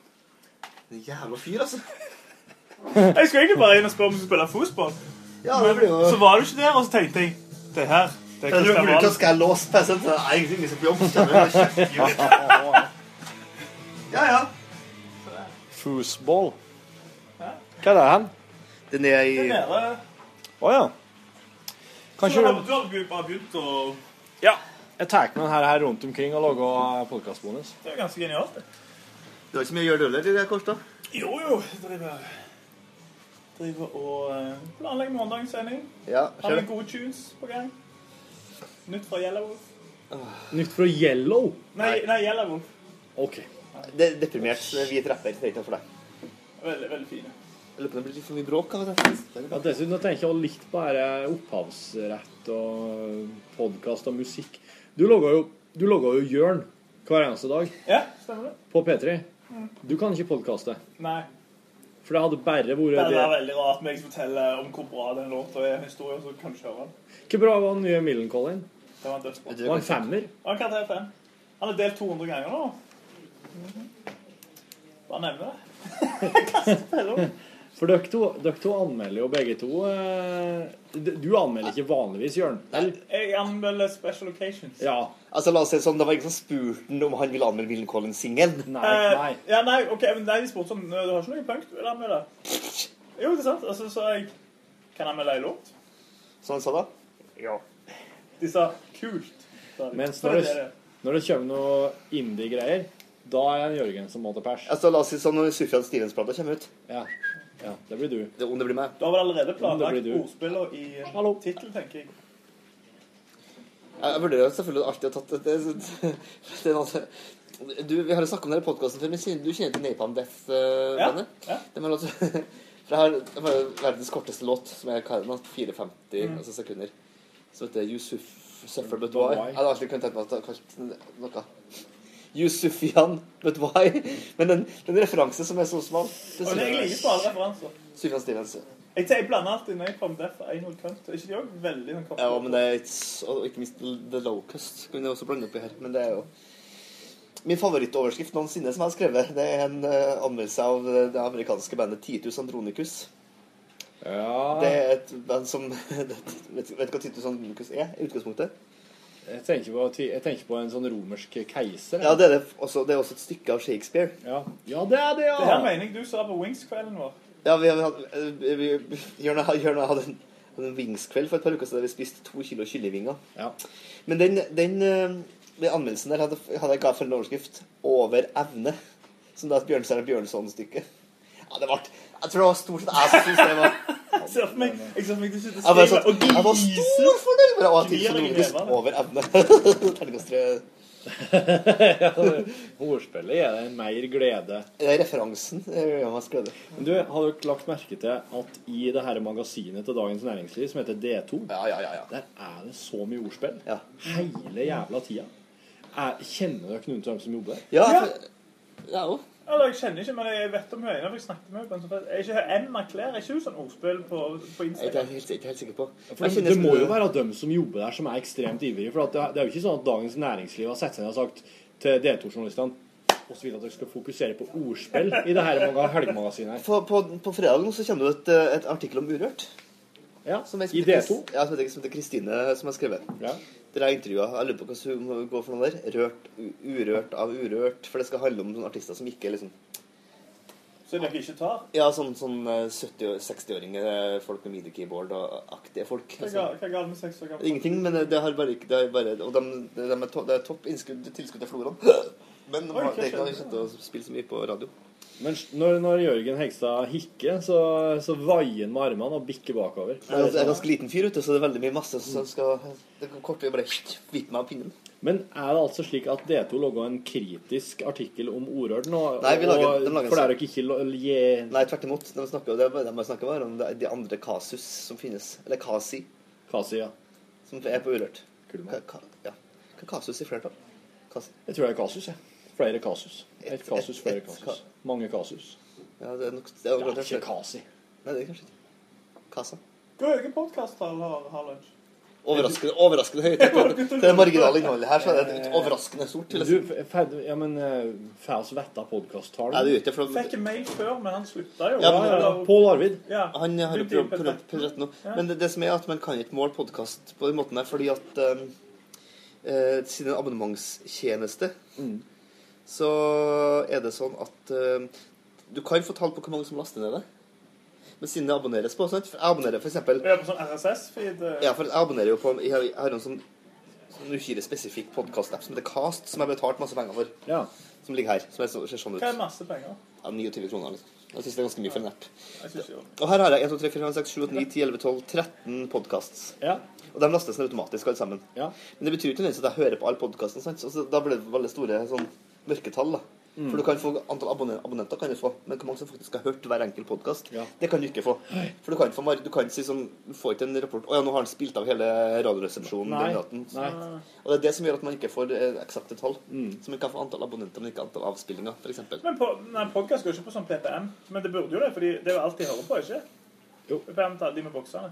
[SPEAKER 13] Det er Jævla fyr, altså.
[SPEAKER 14] Jeg skulle egentlig bare inn og spørre om vi skulle spille fotball.
[SPEAKER 13] Ja, det blir jo...
[SPEAKER 14] Så var du ikke der, og så tenkte jeg Det er her. Det er
[SPEAKER 13] Jeg lurer på hvordan
[SPEAKER 14] Kristian
[SPEAKER 13] skal Altså, jeg låse PC-en til det er sånn, egentlig ingen som blir omskjermet. Ja, ja.
[SPEAKER 3] Foosball. Hva er det hen?
[SPEAKER 13] Den er i
[SPEAKER 14] Valen.
[SPEAKER 3] Å ja.
[SPEAKER 14] Kanskje
[SPEAKER 3] Kanskje
[SPEAKER 14] du har du bare begynt å
[SPEAKER 3] Ja. Jeg tar med den her, her rundt omkring og lager podkastbonus.
[SPEAKER 14] Det er jo ganske genialt, det.
[SPEAKER 13] Du har ikke så mye å gjøre du heller, Lille Kårstad?
[SPEAKER 14] Jo, jo. Driver, driver og eh, planlegger morgendagens sending.
[SPEAKER 13] Ja,
[SPEAKER 14] Har
[SPEAKER 13] skjer
[SPEAKER 14] vi gode tunes på gang? Nytt fra Yellow Wolf?
[SPEAKER 3] Nytt fra Yellow?
[SPEAKER 14] Nei, nei Yellow Wolf.
[SPEAKER 3] OK.
[SPEAKER 13] Det er deprimert hvit rapper. Det er ikke noe for deg.
[SPEAKER 14] Veldig, veldig fine.
[SPEAKER 13] Jeg lurer på om det blir litt for mye bråk av det.
[SPEAKER 3] dessuten at jeg ikke har likt bare opphavsrett og podkast og musikk. Du lager jo, du lager jo Jørn hver eneste dag
[SPEAKER 14] Ja, stemmer det.
[SPEAKER 3] på P3.
[SPEAKER 14] Mm.
[SPEAKER 3] Du kan ikke podkaste.
[SPEAKER 14] Nei.
[SPEAKER 3] For det hadde bare
[SPEAKER 14] Det
[SPEAKER 3] vært
[SPEAKER 14] er
[SPEAKER 3] det.
[SPEAKER 14] veldig rart med jeg som forteller om hvor bra den låta er. Historien, så kan du kjøre den.
[SPEAKER 3] Hvor bra var den nye Millencolin?
[SPEAKER 14] Det var en dødsbra.
[SPEAKER 3] Det var en femmer.
[SPEAKER 14] Han kan tre fem. Han har delt 200 ganger nå. Mhm. Bare nevne det.
[SPEAKER 3] For dere to, dere to anmelder jo begge to eh, d- Du anmelder ikke vanligvis, Jørn.
[SPEAKER 14] Jeg anmelder Special Occasions.
[SPEAKER 3] Ja.
[SPEAKER 13] Altså, la oss si det sånn, Det var ingen som spurte han om han ville anmelde Willen Collins-singelen.
[SPEAKER 14] Eh, Ja, nei, ok, men nei, de spurte sånn, du har ikke noe punkt, vil du anmelde? Jo, det er sant. Altså, så jeg, kan jeg anmelde en låt?
[SPEAKER 13] Så han sa da? Ja.
[SPEAKER 14] De sa, kult. sa de.
[SPEAKER 3] Mens
[SPEAKER 14] Så
[SPEAKER 3] når
[SPEAKER 14] det er
[SPEAKER 3] det, når det kommer noe indie-greier, da er det Jørgen som må til pers.
[SPEAKER 13] Altså, La oss si det sånn når Sufjan Stevens-plata kommer ut.
[SPEAKER 3] Ja. ja, det blir du.
[SPEAKER 13] Altså- Det, om det blir meg.
[SPEAKER 14] Da var det allerede
[SPEAKER 13] Det
[SPEAKER 14] planlagt
[SPEAKER 13] blir du.
[SPEAKER 14] ordspiller i eh, titel, tenker jeg.
[SPEAKER 13] Jeg jeg vurderer jo selvfølgelig alltid å ha tatt det, det, det er altså- du, Vi har jo snakket om det her i podkasten før, men siden du kjenner til Napalm Death-bandet?
[SPEAKER 14] ja.
[SPEAKER 13] Det var låt, for jeg har, det var jo verdens korteste låt, som er hva er den, da? 4,50
[SPEAKER 14] Mm.
[SPEAKER 13] altså sekunder. Som heter You Suf- Suffer But
[SPEAKER 14] But
[SPEAKER 13] Why.
[SPEAKER 14] Why.
[SPEAKER 13] Jeg hadde alltid kunnet tenke meg at det var kanskje noe Yusufian But Why. Men den, den referanse som er så smal
[SPEAKER 14] Og det, jeg liker på alle referanser.
[SPEAKER 13] Sylvian Stevens.
[SPEAKER 14] Jeg, tenker- jeg blander alltid når jeg kom der for Einhold Kønt. Er ikke de også veldig sånn
[SPEAKER 13] Ja, men det er ikke, og ikke minst The Locust kunne jeg også blande oppi her. Men det er jo min favorittoverskrift noensinne som jeg har skrevet. Det er en eh, anmeldelse av eh, det amerikanske bandet Titus Andronicus.
[SPEAKER 3] Ja.
[SPEAKER 13] Det er et band som Vet vet du hva Titus Andronicus er i utgangspunktet?
[SPEAKER 3] Jeg tenker, på, ti- jeg tenker på en sånn romersk keiser.
[SPEAKER 13] Ja, det er, det, også, det er også et stykke av Shakespeare.
[SPEAKER 3] Ja, det er det, ja!
[SPEAKER 14] Det her mener jeg du sa på Wings-kvelden vår.
[SPEAKER 13] Ja, vi, vi, vi, vi Jørn og jeg- Jørn og jeg hadde en, hadde en wingskveld for et par uker siden der vi spiste to kilo kyllingvinger. Men den, den, eh, den anmeldelsen der hadde, hadde jeg ga følgende overskrift 'Over evne', som da er et Bjørnstjerne Bjørnson-stykke. Ja, det ble Jeg tror det var stort sett jeg som syntes det var
[SPEAKER 14] Jeg ser for meg, jeg ser for meg du sitter
[SPEAKER 13] Jeg var,
[SPEAKER 14] og skriver
[SPEAKER 13] sånn,
[SPEAKER 14] og
[SPEAKER 13] jeg var
[SPEAKER 14] gliser.
[SPEAKER 13] stor fornøyd med det. Og
[SPEAKER 14] Gnir
[SPEAKER 13] til
[SPEAKER 14] deg i
[SPEAKER 13] Sonoris
[SPEAKER 14] nevene.
[SPEAKER 13] over evne. Terningkast tre.
[SPEAKER 3] Ordspillet gir deg mer glede.
[SPEAKER 13] Det er referansen. eh, gjør meg skrøde.
[SPEAKER 3] Men du, har dere lagt merke til at i det her magasinet til Dagens Næringsliv, som heter D2, der er det så mye ordspill hele jævla tida. Er, kjenner dere noen av dem som jobber der?
[SPEAKER 13] Ja, jo.
[SPEAKER 14] Eller, jeg kjenner ikke, men jeg vet om hun ene, for jeg snakket med henne. på en sånn fest. Er ikke hun Emma Claire? Er ikke hun sånn ordspill på, på
[SPEAKER 13] Jeg er
[SPEAKER 14] Instagram?
[SPEAKER 13] ikke helt, ikke helt sikker på.
[SPEAKER 3] For det, det må jo være dem som jobber der, som er ekstremt ivrige. For at det, det er jo ikke sånn at Dagens Næringsliv har sett seg ned og sagt til D2-journalistene og vil at dere skal fokusere på ordspill i det her mange helgemagasinet.
[SPEAKER 13] På, på, på fredagen så kommer det et, eh, et artikkel om Urørt.
[SPEAKER 3] Ja,
[SPEAKER 13] som er,
[SPEAKER 3] i D2.
[SPEAKER 13] Ja, som heter- som heter Kristine, som har skrevet. Der er intervjua. Jeg lurer på hva hun går for noe der. Rørt, u- urørt av urørt. For det skal handle om noen artister som ikke er liksom
[SPEAKER 14] Så dere ikke tar?
[SPEAKER 13] Ja, sånn, sånn 70-60-åringer, eh, folk med midi-keyboard og aktige folk.
[SPEAKER 14] Hva er
[SPEAKER 13] altså.
[SPEAKER 14] gal- hva er galt med seks år gammel?
[SPEAKER 13] Ingenting, men eh, det har bare ikke det har bare, Og de, de er to, det er topp innskudd, tilskudd til Florene. Men de
[SPEAKER 14] Oi,
[SPEAKER 13] har,
[SPEAKER 14] hva
[SPEAKER 13] det er ikke noe
[SPEAKER 14] skjedde?
[SPEAKER 13] kjent å spille så mye på radio.
[SPEAKER 3] Men s- når, når Jørgen Hegstad hikker, så, så vaier han med armene og bikker bakover. Mm.
[SPEAKER 13] Jeg er en ganske liten fyr, ute, så det er veldig mye masse som skal Det kan kort tid bare vippe meg av pinnen.
[SPEAKER 3] Men er det altså slik at D2 laga en kritisk artikkel om ordørd nå?
[SPEAKER 13] Nei, vi lager-
[SPEAKER 3] og-
[SPEAKER 13] de lager en
[SPEAKER 3] for det er
[SPEAKER 13] sak.
[SPEAKER 3] jo ikke lo- je-
[SPEAKER 13] Nei, tvert imot. De snakker, jo- det er bare- de snakker bare om det- de andre kasus som finnes. Eller kasi.
[SPEAKER 3] Kasi, ja.
[SPEAKER 13] Som er på Urørt. Ka, ka, ja. Hva er kasus i flertall? Kasi.
[SPEAKER 3] Jeg tror det er kasus, jeg. Flere kasus. Et
[SPEAKER 13] Et-
[SPEAKER 3] kasus,
[SPEAKER 13] et-
[SPEAKER 3] flere
[SPEAKER 13] et
[SPEAKER 3] kasus. Mange kasus.
[SPEAKER 13] Ja, det er nok Det er,
[SPEAKER 3] Det er ikke kasi.
[SPEAKER 13] Nei, det er kanskje ikke Kasa.
[SPEAKER 14] Hvor høye podkasttall har, har lunsj?
[SPEAKER 13] Overraskende, overraskende høyt. Til det marginale innholdet her så er det et overraskende stort. vil jeg si.
[SPEAKER 3] Eh. Du, f- ferd- ja, men eh, får oss vette podkast-tall?
[SPEAKER 13] Nei, det gjør ikke det, for
[SPEAKER 14] Fikk en mail før, men han slutta jo.
[SPEAKER 13] Ja, men-
[SPEAKER 3] Pål Arvid.
[SPEAKER 14] Ja.
[SPEAKER 13] Han har jo
[SPEAKER 14] Begynte i
[SPEAKER 13] prøvd, prøvd, prøvd nå.
[SPEAKER 14] Ja.
[SPEAKER 13] Men det, det som er at man kan ikke måle podkast på den måten der, fordi at um, eh, siden det er en abonnementstjeneste, så er det sånn at eh, du kan få tall på hvor mange som laster ned det. Men siden det abonneres på sant? For Jeg abonnerer for eksempel
[SPEAKER 14] Er det på sånn RSS-feed?
[SPEAKER 13] Ja, for jeg abonnerer jo på Jeg har, jeg har en sånn, sånn uhyre spesifikk podkast-app som heter Cast, som jeg har betalt masse penger for. Som ligger her. Som er så, ser sånn ut.
[SPEAKER 14] Hva er masse penger?
[SPEAKER 13] Ja, 29 kroner. Liksom. Jeg syns det er ganske mye for en app.
[SPEAKER 14] Jeg synes jo.
[SPEAKER 13] Og her har jeg 1, 2, 3, 4, 5, 6, 7, 8, 9, 10, 11, 12, 13 podkasts. Og de lastes ned automatisk, alle sammen. Men det betyr ikke nødvendigvis at jeg hører på alle podkastene. sant? Så- så Da blir det veldig store sånn, mørketall. da.
[SPEAKER 3] Mm.
[SPEAKER 13] For du kan få Antall abonne- abonnenter kan du få, men hvor mange som faktisk har hørt hver enkelt podkast, det kan du ikke få. For du kan, ikke få, mar- du kan si sånn, du får ikke en rapport 'Å ja, nå har han spilt av hele Radioresepsjonen
[SPEAKER 3] Nei,
[SPEAKER 13] den natten'.
[SPEAKER 3] nei.
[SPEAKER 13] Og det er det som gjør at man ikke får eh, eksakte tall.
[SPEAKER 14] Mm.
[SPEAKER 13] Så man kan få antall abonnenter, men ikke antall avspillinger, f.eks.
[SPEAKER 14] Men på, nei, podcast går ikke på sånn PPM. Men det burde jo det, fordi det er jo alt de hører på, ikke?
[SPEAKER 3] Jo.
[SPEAKER 14] PPM tar de med boksene.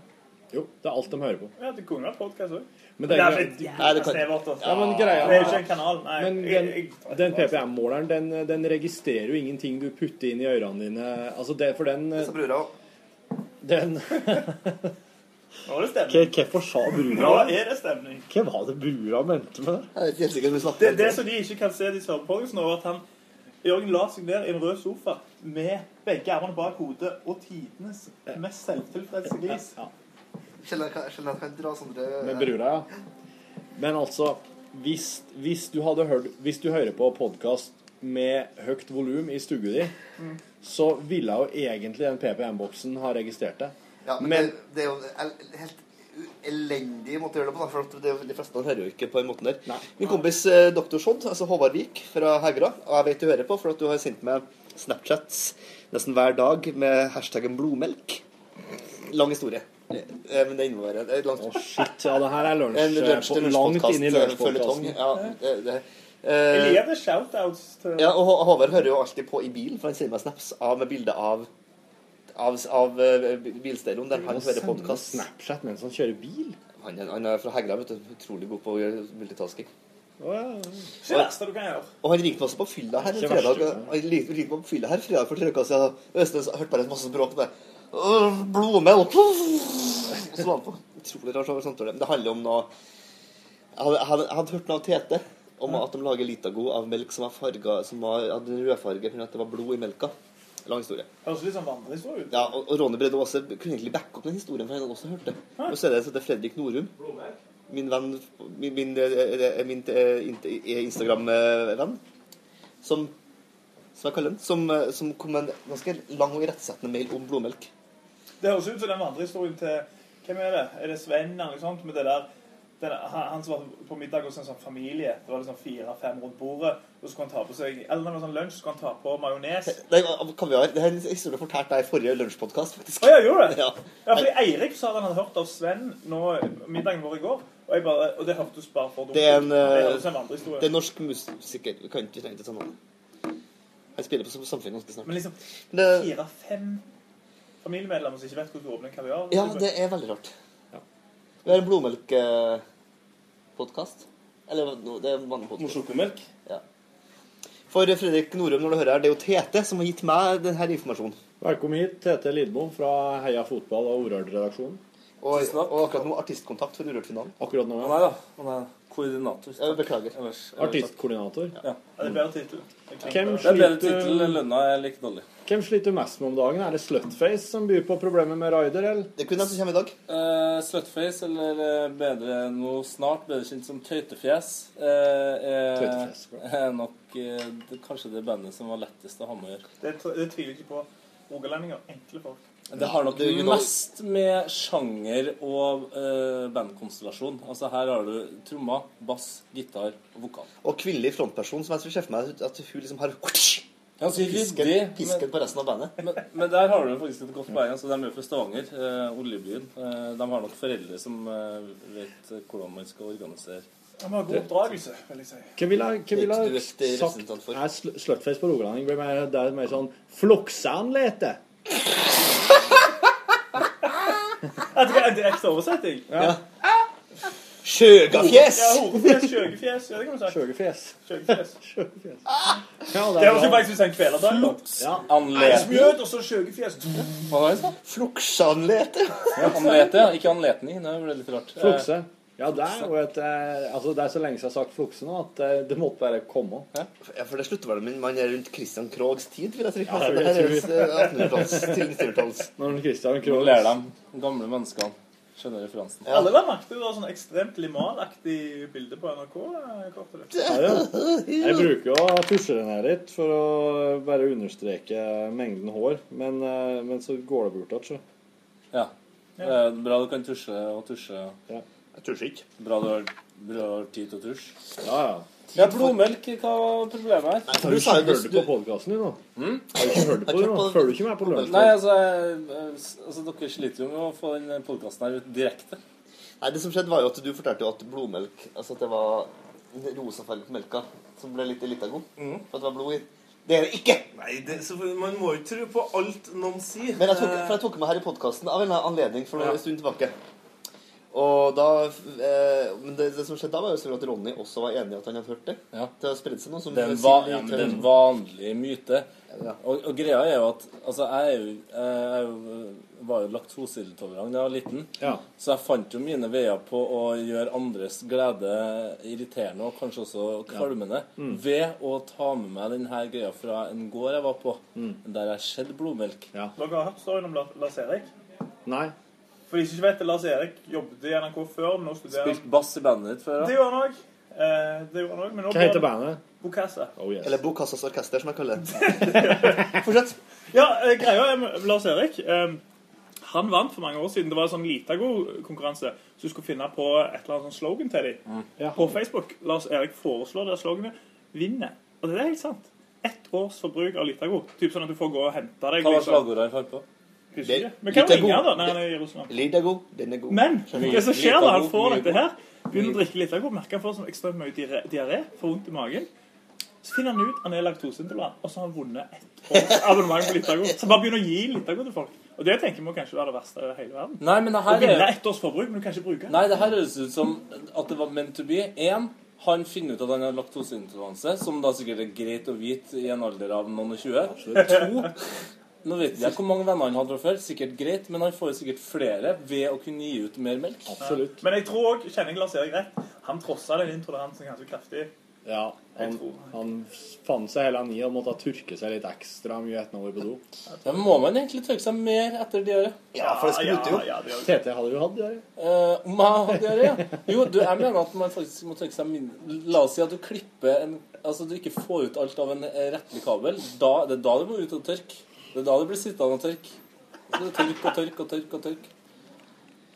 [SPEAKER 3] Jo, det er alt de hører på.
[SPEAKER 14] Ja, det kunne vært podcast
[SPEAKER 3] Men
[SPEAKER 14] òg.
[SPEAKER 3] det
[SPEAKER 14] Men det
[SPEAKER 3] er
[SPEAKER 14] er
[SPEAKER 3] greit.
[SPEAKER 14] litt
[SPEAKER 3] Nei, det
[SPEAKER 14] jævla
[SPEAKER 3] kan-
[SPEAKER 14] snevert. altså.
[SPEAKER 3] Ja, men greia-
[SPEAKER 14] Det er jo ikke en kanal. Nei.
[SPEAKER 3] Men
[SPEAKER 14] jeg,
[SPEAKER 3] den,
[SPEAKER 14] jeg,
[SPEAKER 3] den PPM-måleren den, den registrerer jo ingenting du putter inn i ørene dine. Altså det for den
[SPEAKER 13] Så brura òg.
[SPEAKER 3] Den
[SPEAKER 14] nå er
[SPEAKER 3] Hva
[SPEAKER 14] det stemning.
[SPEAKER 3] hvorfor Eh, sa brura
[SPEAKER 14] Nå er det stemning.
[SPEAKER 3] Hva var det brura mente med det?
[SPEAKER 13] Jeg er ikke helt sikker på hva
[SPEAKER 14] Det, det som de ikke kan se, de som hører på nå, er at han Jørgen la seg ned i en rød sofa med begge armene bak hodet og tidenes mest selvtilfredse glis.
[SPEAKER 13] Sjelden jeg kan- sjelden jeg kan dra sånne
[SPEAKER 3] Med brura, ja. Men altså, hvis, hvis du hadde hørt Hvis du hører på podkast med høyt volum i stua di, så ville jo egentlig den PPM-boksen ha registrert det.
[SPEAKER 13] Ja, men,
[SPEAKER 3] Men-
[SPEAKER 13] det, det er jo en el- helt elendig måte å gjøre det på. da, For at det, de fleste hører jo ikke på den måten der. Min kompis eh, Dr. Sjodd, altså Håvard Vik fra Hegra, og jeg vet du hører på, for at du har sendt meg Snapchats nesten hver dag med hashtaggen 'blodmelk'. Lang historie. Eh, Men det innebærer det er langt.
[SPEAKER 3] Shit, ja, det her er lunsj... eh,
[SPEAKER 13] En lunsj til
[SPEAKER 3] langt inn i
[SPEAKER 13] lunsjpodkast-føljetong.
[SPEAKER 3] lunsjpodkasten.
[SPEAKER 13] Ja, det, det.
[SPEAKER 14] Jeg
[SPEAKER 13] Eh,
[SPEAKER 14] lever shoutouts til
[SPEAKER 13] ja, og Hå- Håvard hører jo alltid på i bilen, for han sender meg snaps av med bilde av av, av eh, bilstereoen der han hører podkast.
[SPEAKER 3] Snapchat mens han kjører bil?
[SPEAKER 13] Han, er- han er fra Hegra, vet du. Utrolig god på å gjøre multitasking.
[SPEAKER 14] Ikke det verste du kan gjøre.
[SPEAKER 13] Og han ringte meg også på fylla her
[SPEAKER 14] Ikke
[SPEAKER 13] fredag.
[SPEAKER 14] verst,
[SPEAKER 13] Han ringte ringte meg på fylla her fredag for tre uker siden. Øystein hørte bare et masse bråk med «Åh, blodmelk. Og så la han på. Utrolig rar samtale. Men det handler om noe Jeg hadde, jeg hadde, jeg hadde hørt noe av Tete om at de lager Litago av melk som, var farga, som var, hadde en rødfarge fordi at det var blod i melka. Lang historie.
[SPEAKER 14] Høres litt sånn vandrehistorie ut.
[SPEAKER 13] Ja, og, og Ronny Brede Aase kunne egentlig backe opp den historien, for han hadde også hørt det. Og så er det, så det er Fredrik Norum. min venn Min, min, eh, min eh, int- eh, Instagram-venn, som, som jeg kaller den, som, eh, som kom med en ganske lang og irettesettende mail om blodmelk.
[SPEAKER 14] Det høres ut som den vandrehistorien til Hvem er det? Er det Sven eller noe sånt? Med det der den, han, han som var på middag hos en sånn familie. Det var liksom fire-fem rundt bordet. Og så kan han ta på seg Eller når det var sånn lunsj, så kan han ta på majones.
[SPEAKER 13] Nei, av kaviar. Det er en historie fortalt deg i forrige lunsjpodkast, faktisk.
[SPEAKER 14] Å, ja, gjorde det?
[SPEAKER 13] Ja.
[SPEAKER 14] Ja, fordi Eirik sa at han hadde hørt av Sven nå, middagen vår i går. Og, jeg bare, og det hørtes bare for dumt
[SPEAKER 13] Det er en,
[SPEAKER 14] ut. Det
[SPEAKER 13] eh,
[SPEAKER 14] høres en vandrehistorie.
[SPEAKER 13] det er en norsk musiker. Vi kan ikke trenge til å ta navnet. Han spiller på Samfunnet ganske snart.
[SPEAKER 14] Men liksom
[SPEAKER 13] det,
[SPEAKER 14] Fire-fem familiemedlemmer som ikke vet hvordan du åpner en kaviar.
[SPEAKER 13] ja, det er veldig rart. Vi har en blodmelkpodkast. Eller no, det er en vanlig podkast.
[SPEAKER 14] Sjokomelk?
[SPEAKER 13] Ja. For Fredrik Norum, når du hører her, det er jo Tete som har gitt meg denne informasjonen.
[SPEAKER 3] Velkommen hit, Tete Lidmo fra Heia Fotball og Ordørd-redaksjonen.
[SPEAKER 13] Og, og akkurat nå artistkontakt for Urørt-finalen.
[SPEAKER 3] Akkurat nå,
[SPEAKER 13] ja.
[SPEAKER 3] Nei da. Han er koordinator.
[SPEAKER 13] Jeg beklager.
[SPEAKER 3] Artistkoordinator.
[SPEAKER 15] Ja. Det er bedre tittel.
[SPEAKER 3] Hvem
[SPEAKER 15] Det er bedre
[SPEAKER 3] sliter-
[SPEAKER 15] tittel enn lønna er like dårlig.
[SPEAKER 3] Hvem sliter du mest med om dagen? Er det Slutface som byr på problemer med Raider, eller?
[SPEAKER 13] Det kunne som kommer i dag.
[SPEAKER 3] Uh,
[SPEAKER 15] Eh, Slutface, eller eh, bedre noe snart, bedre kjent som Tøytefjes, eh,
[SPEAKER 3] Tøytefjes,
[SPEAKER 15] er, er nok eh, det, kanskje det bandet som var lettest å ha med å gjøre.
[SPEAKER 14] Det, tviler ikke på. Rogalendinger, enkle folk.
[SPEAKER 15] Det har nok mest med sjanger og eh, bandkonstellasjon. Altså her har du tromma, bass, gitar og vokal.
[SPEAKER 13] Og kvinnelig frontperson, som jeg skulle se for meg at hun liksom har
[SPEAKER 15] Ja, så
[SPEAKER 13] pisken,
[SPEAKER 15] ryddig,
[SPEAKER 13] pisken
[SPEAKER 15] men-
[SPEAKER 13] på resten av bandet.
[SPEAKER 15] Men, men der har du faktisk et godt poeng. Altså, de er jo fra Stavanger, eh, oljebyen. Eh, de har nok foreldre som eh, vet hvordan man skal organisere.
[SPEAKER 14] Ja, men god oppdragelse, vil jeg si.
[SPEAKER 3] Hva ville hva ville jeg sagt er sl- Slutface på Rogalanding? Blir mer, det er mer sånn Floksanlete!
[SPEAKER 15] Jeg tror det er en direkte oversetting.
[SPEAKER 3] Ja.
[SPEAKER 13] Skjøgafjes!
[SPEAKER 14] Ja, horefjes, skjøgefjes. Ja, det kan du si.
[SPEAKER 3] Skjøgefjes.
[SPEAKER 14] Skjøgefjes.
[SPEAKER 15] Ah!
[SPEAKER 3] Ja,
[SPEAKER 14] Det høres jo bare ut som en kvelertak. da.
[SPEAKER 15] Ja.
[SPEAKER 14] Nei,
[SPEAKER 15] Anleten.
[SPEAKER 14] Smjød, og så skjøgefjes.
[SPEAKER 15] Hva var det jeg sa?
[SPEAKER 13] Fluksanlete.
[SPEAKER 15] Anlete, ja. Ikke anletning. Det ble litt rart. Eh,
[SPEAKER 3] Flukse. Eh, Ja, det er jo et eh, Altså, det er så lenge siden jeg har sagt flukse nå, at eh, det måtte bare komme.
[SPEAKER 13] Ja, for det slutter vel med man er rundt Christian Krogs tid, vil jeg tro.
[SPEAKER 3] Ja,
[SPEAKER 13] Altså,
[SPEAKER 3] jeg
[SPEAKER 13] det her er
[SPEAKER 3] tror-
[SPEAKER 13] jo s- 1800-talls til 1900-talls.
[SPEAKER 3] Når Christian
[SPEAKER 15] Nå ler de gamle menneskene. Skjønner referansen.
[SPEAKER 14] Alle la merke til det var sånn ekstremt limanaktig bilde på NRK. eh, kort og
[SPEAKER 3] Ja, ja.
[SPEAKER 14] slett.
[SPEAKER 3] Jeg bruker jo å pushe den her litt for å bare understreke mengden hår, men, eh, men så går det bort igjen, så.
[SPEAKER 15] Ja. Det er Bra du kan tusje og tusje.
[SPEAKER 13] Jeg tusjer ikke.
[SPEAKER 15] Bra du har, bra du har tid til å tusje.
[SPEAKER 3] Ja, ja.
[SPEAKER 15] Ja, blodmelk. Hva var problemet her? Hm?
[SPEAKER 3] Har du ikke hørt på podkasten din nå? Har du ikke hørt på det nå? Følger du ikke med på lunsj?
[SPEAKER 15] Nei, altså, jeg- altså Dere sliter jo med å få den podkasten her ut direkte.
[SPEAKER 13] Nei, det som skjedde var jo at du fortalte jo at blodmelk, altså at det var rosa farge på melka, som ble litt elitago, mm. for at det var blod i. Det er det ikke!
[SPEAKER 16] Nei, det, så Man må jo ikke tro på alt noen sier.
[SPEAKER 13] Men jeg tok, for jeg tok med her i podkasten av en eller annen anledning for noen
[SPEAKER 16] Ja.
[SPEAKER 13] stund tilbake. Og da, eh, men det, det som skjedde da, var jo selvfølgelig at Ronny også var enig i at han hadde hørt det. Det har spredt seg noe som
[SPEAKER 15] Den,
[SPEAKER 13] Siv
[SPEAKER 15] va ja, men
[SPEAKER 13] Tørn-
[SPEAKER 15] den vanlige myte. Og, og greia er jo at altså, jeg, er jo, jeg er jo, var jo laktoseintolerant da jeg var liten.
[SPEAKER 3] Ja.
[SPEAKER 15] Så jeg fant jo mine veier på å gjøre andres glede irriterende og kanskje også kvalmende
[SPEAKER 3] Mm.
[SPEAKER 15] ved å ta med meg denne greia fra en gård jeg var på, der jeg skjedde blodmelk.
[SPEAKER 14] Dere har hørt storyen om La- Lars Erik?
[SPEAKER 3] Nei.
[SPEAKER 14] For de som ikke vet det, Lars Erik jobbet i NRK før, men nå studerer han.
[SPEAKER 15] Spilt bass i bandet ditt før,
[SPEAKER 14] Det
[SPEAKER 15] ja.
[SPEAKER 14] gjorde han òg. Det gjorde han òg, men nå
[SPEAKER 15] Hva
[SPEAKER 14] går
[SPEAKER 15] heter
[SPEAKER 14] han-
[SPEAKER 15] bandet? Oh,
[SPEAKER 14] Bokassa.
[SPEAKER 13] Eller Bokassas orkester, som jeg kaller det.
[SPEAKER 14] Fortsett. Ja, eh, greia er med Lars Erik. eh, Han vant for mange år siden. Det var en sånn Litago-konkurranse. Så du skulle finne på et eller annet sånn slogan til dem. På Facebook. Lars Erik foreslår det sloganet. Vinner. Og det er helt sant. Ett års forbruk av Litago. Typ sånn at du får gå og hente deg.
[SPEAKER 15] Hva var
[SPEAKER 14] liksom.
[SPEAKER 15] slagordet jeg fant på?
[SPEAKER 14] Husker ikke. Men hvem ringer han da? Nei, han er i Russland.
[SPEAKER 13] Lyd er god, den er god.
[SPEAKER 14] Men
[SPEAKER 13] Skjønner.
[SPEAKER 14] det som skjer da, han
[SPEAKER 13] Lyd er god,
[SPEAKER 14] får
[SPEAKER 13] lyd er
[SPEAKER 14] dette
[SPEAKER 13] god.
[SPEAKER 14] her, begynner å drikke litt alkohol, merker han får sånn ekstremt mye diaré- diaré, får vondt i magen. Så finner han ut han er laktoseintolerant, og så har han vunnet ett års abonnement på Litago. Så han bare begynner å gi Litago til folk. Og det tenker jeg må kanskje være det verste i hele verden.
[SPEAKER 15] Nei, men det her
[SPEAKER 14] Å vinne
[SPEAKER 15] er-
[SPEAKER 14] ett års forbruk, men du kan ikke bruke det.
[SPEAKER 15] Nei, det her høres ut som at det var meant to be. En, han finner ut at han har laktoseintoleranse, som da sikkert er greit å vite i en alder av noen og tjue. To, nå vet jeg ikke hvor mange venner han hadde fra før, sikkert greit, men han får sikkert flere ved å kunne gi ut mer melk.
[SPEAKER 14] Ja. Men jeg tror òg, kjenner jeg Lars Erik rett, han trossa den intoleransen ganske kraftig.
[SPEAKER 3] Ja, han, han fant seg hele ni og måtte tørke seg litt ekstra mye etter han var på do.
[SPEAKER 15] Ja, men må man egentlig tørke seg mer etter diaré?
[SPEAKER 3] Ja, for det spruter jo. Ja, ja, det gjør det. TT hadde jo hatt diaré.
[SPEAKER 15] Eh, om jeg hadde diaré, ja. Jo, du, jeg mener at man faktisk må tørke seg mindre. La oss si at du klipper en Altså du ikke får ut alt av en eh, rettelig kabel. Da, det er da det må ut og tørke. Det er da det blir sittende og tørke. Så det er Tørk og tørk og tørk og tørk.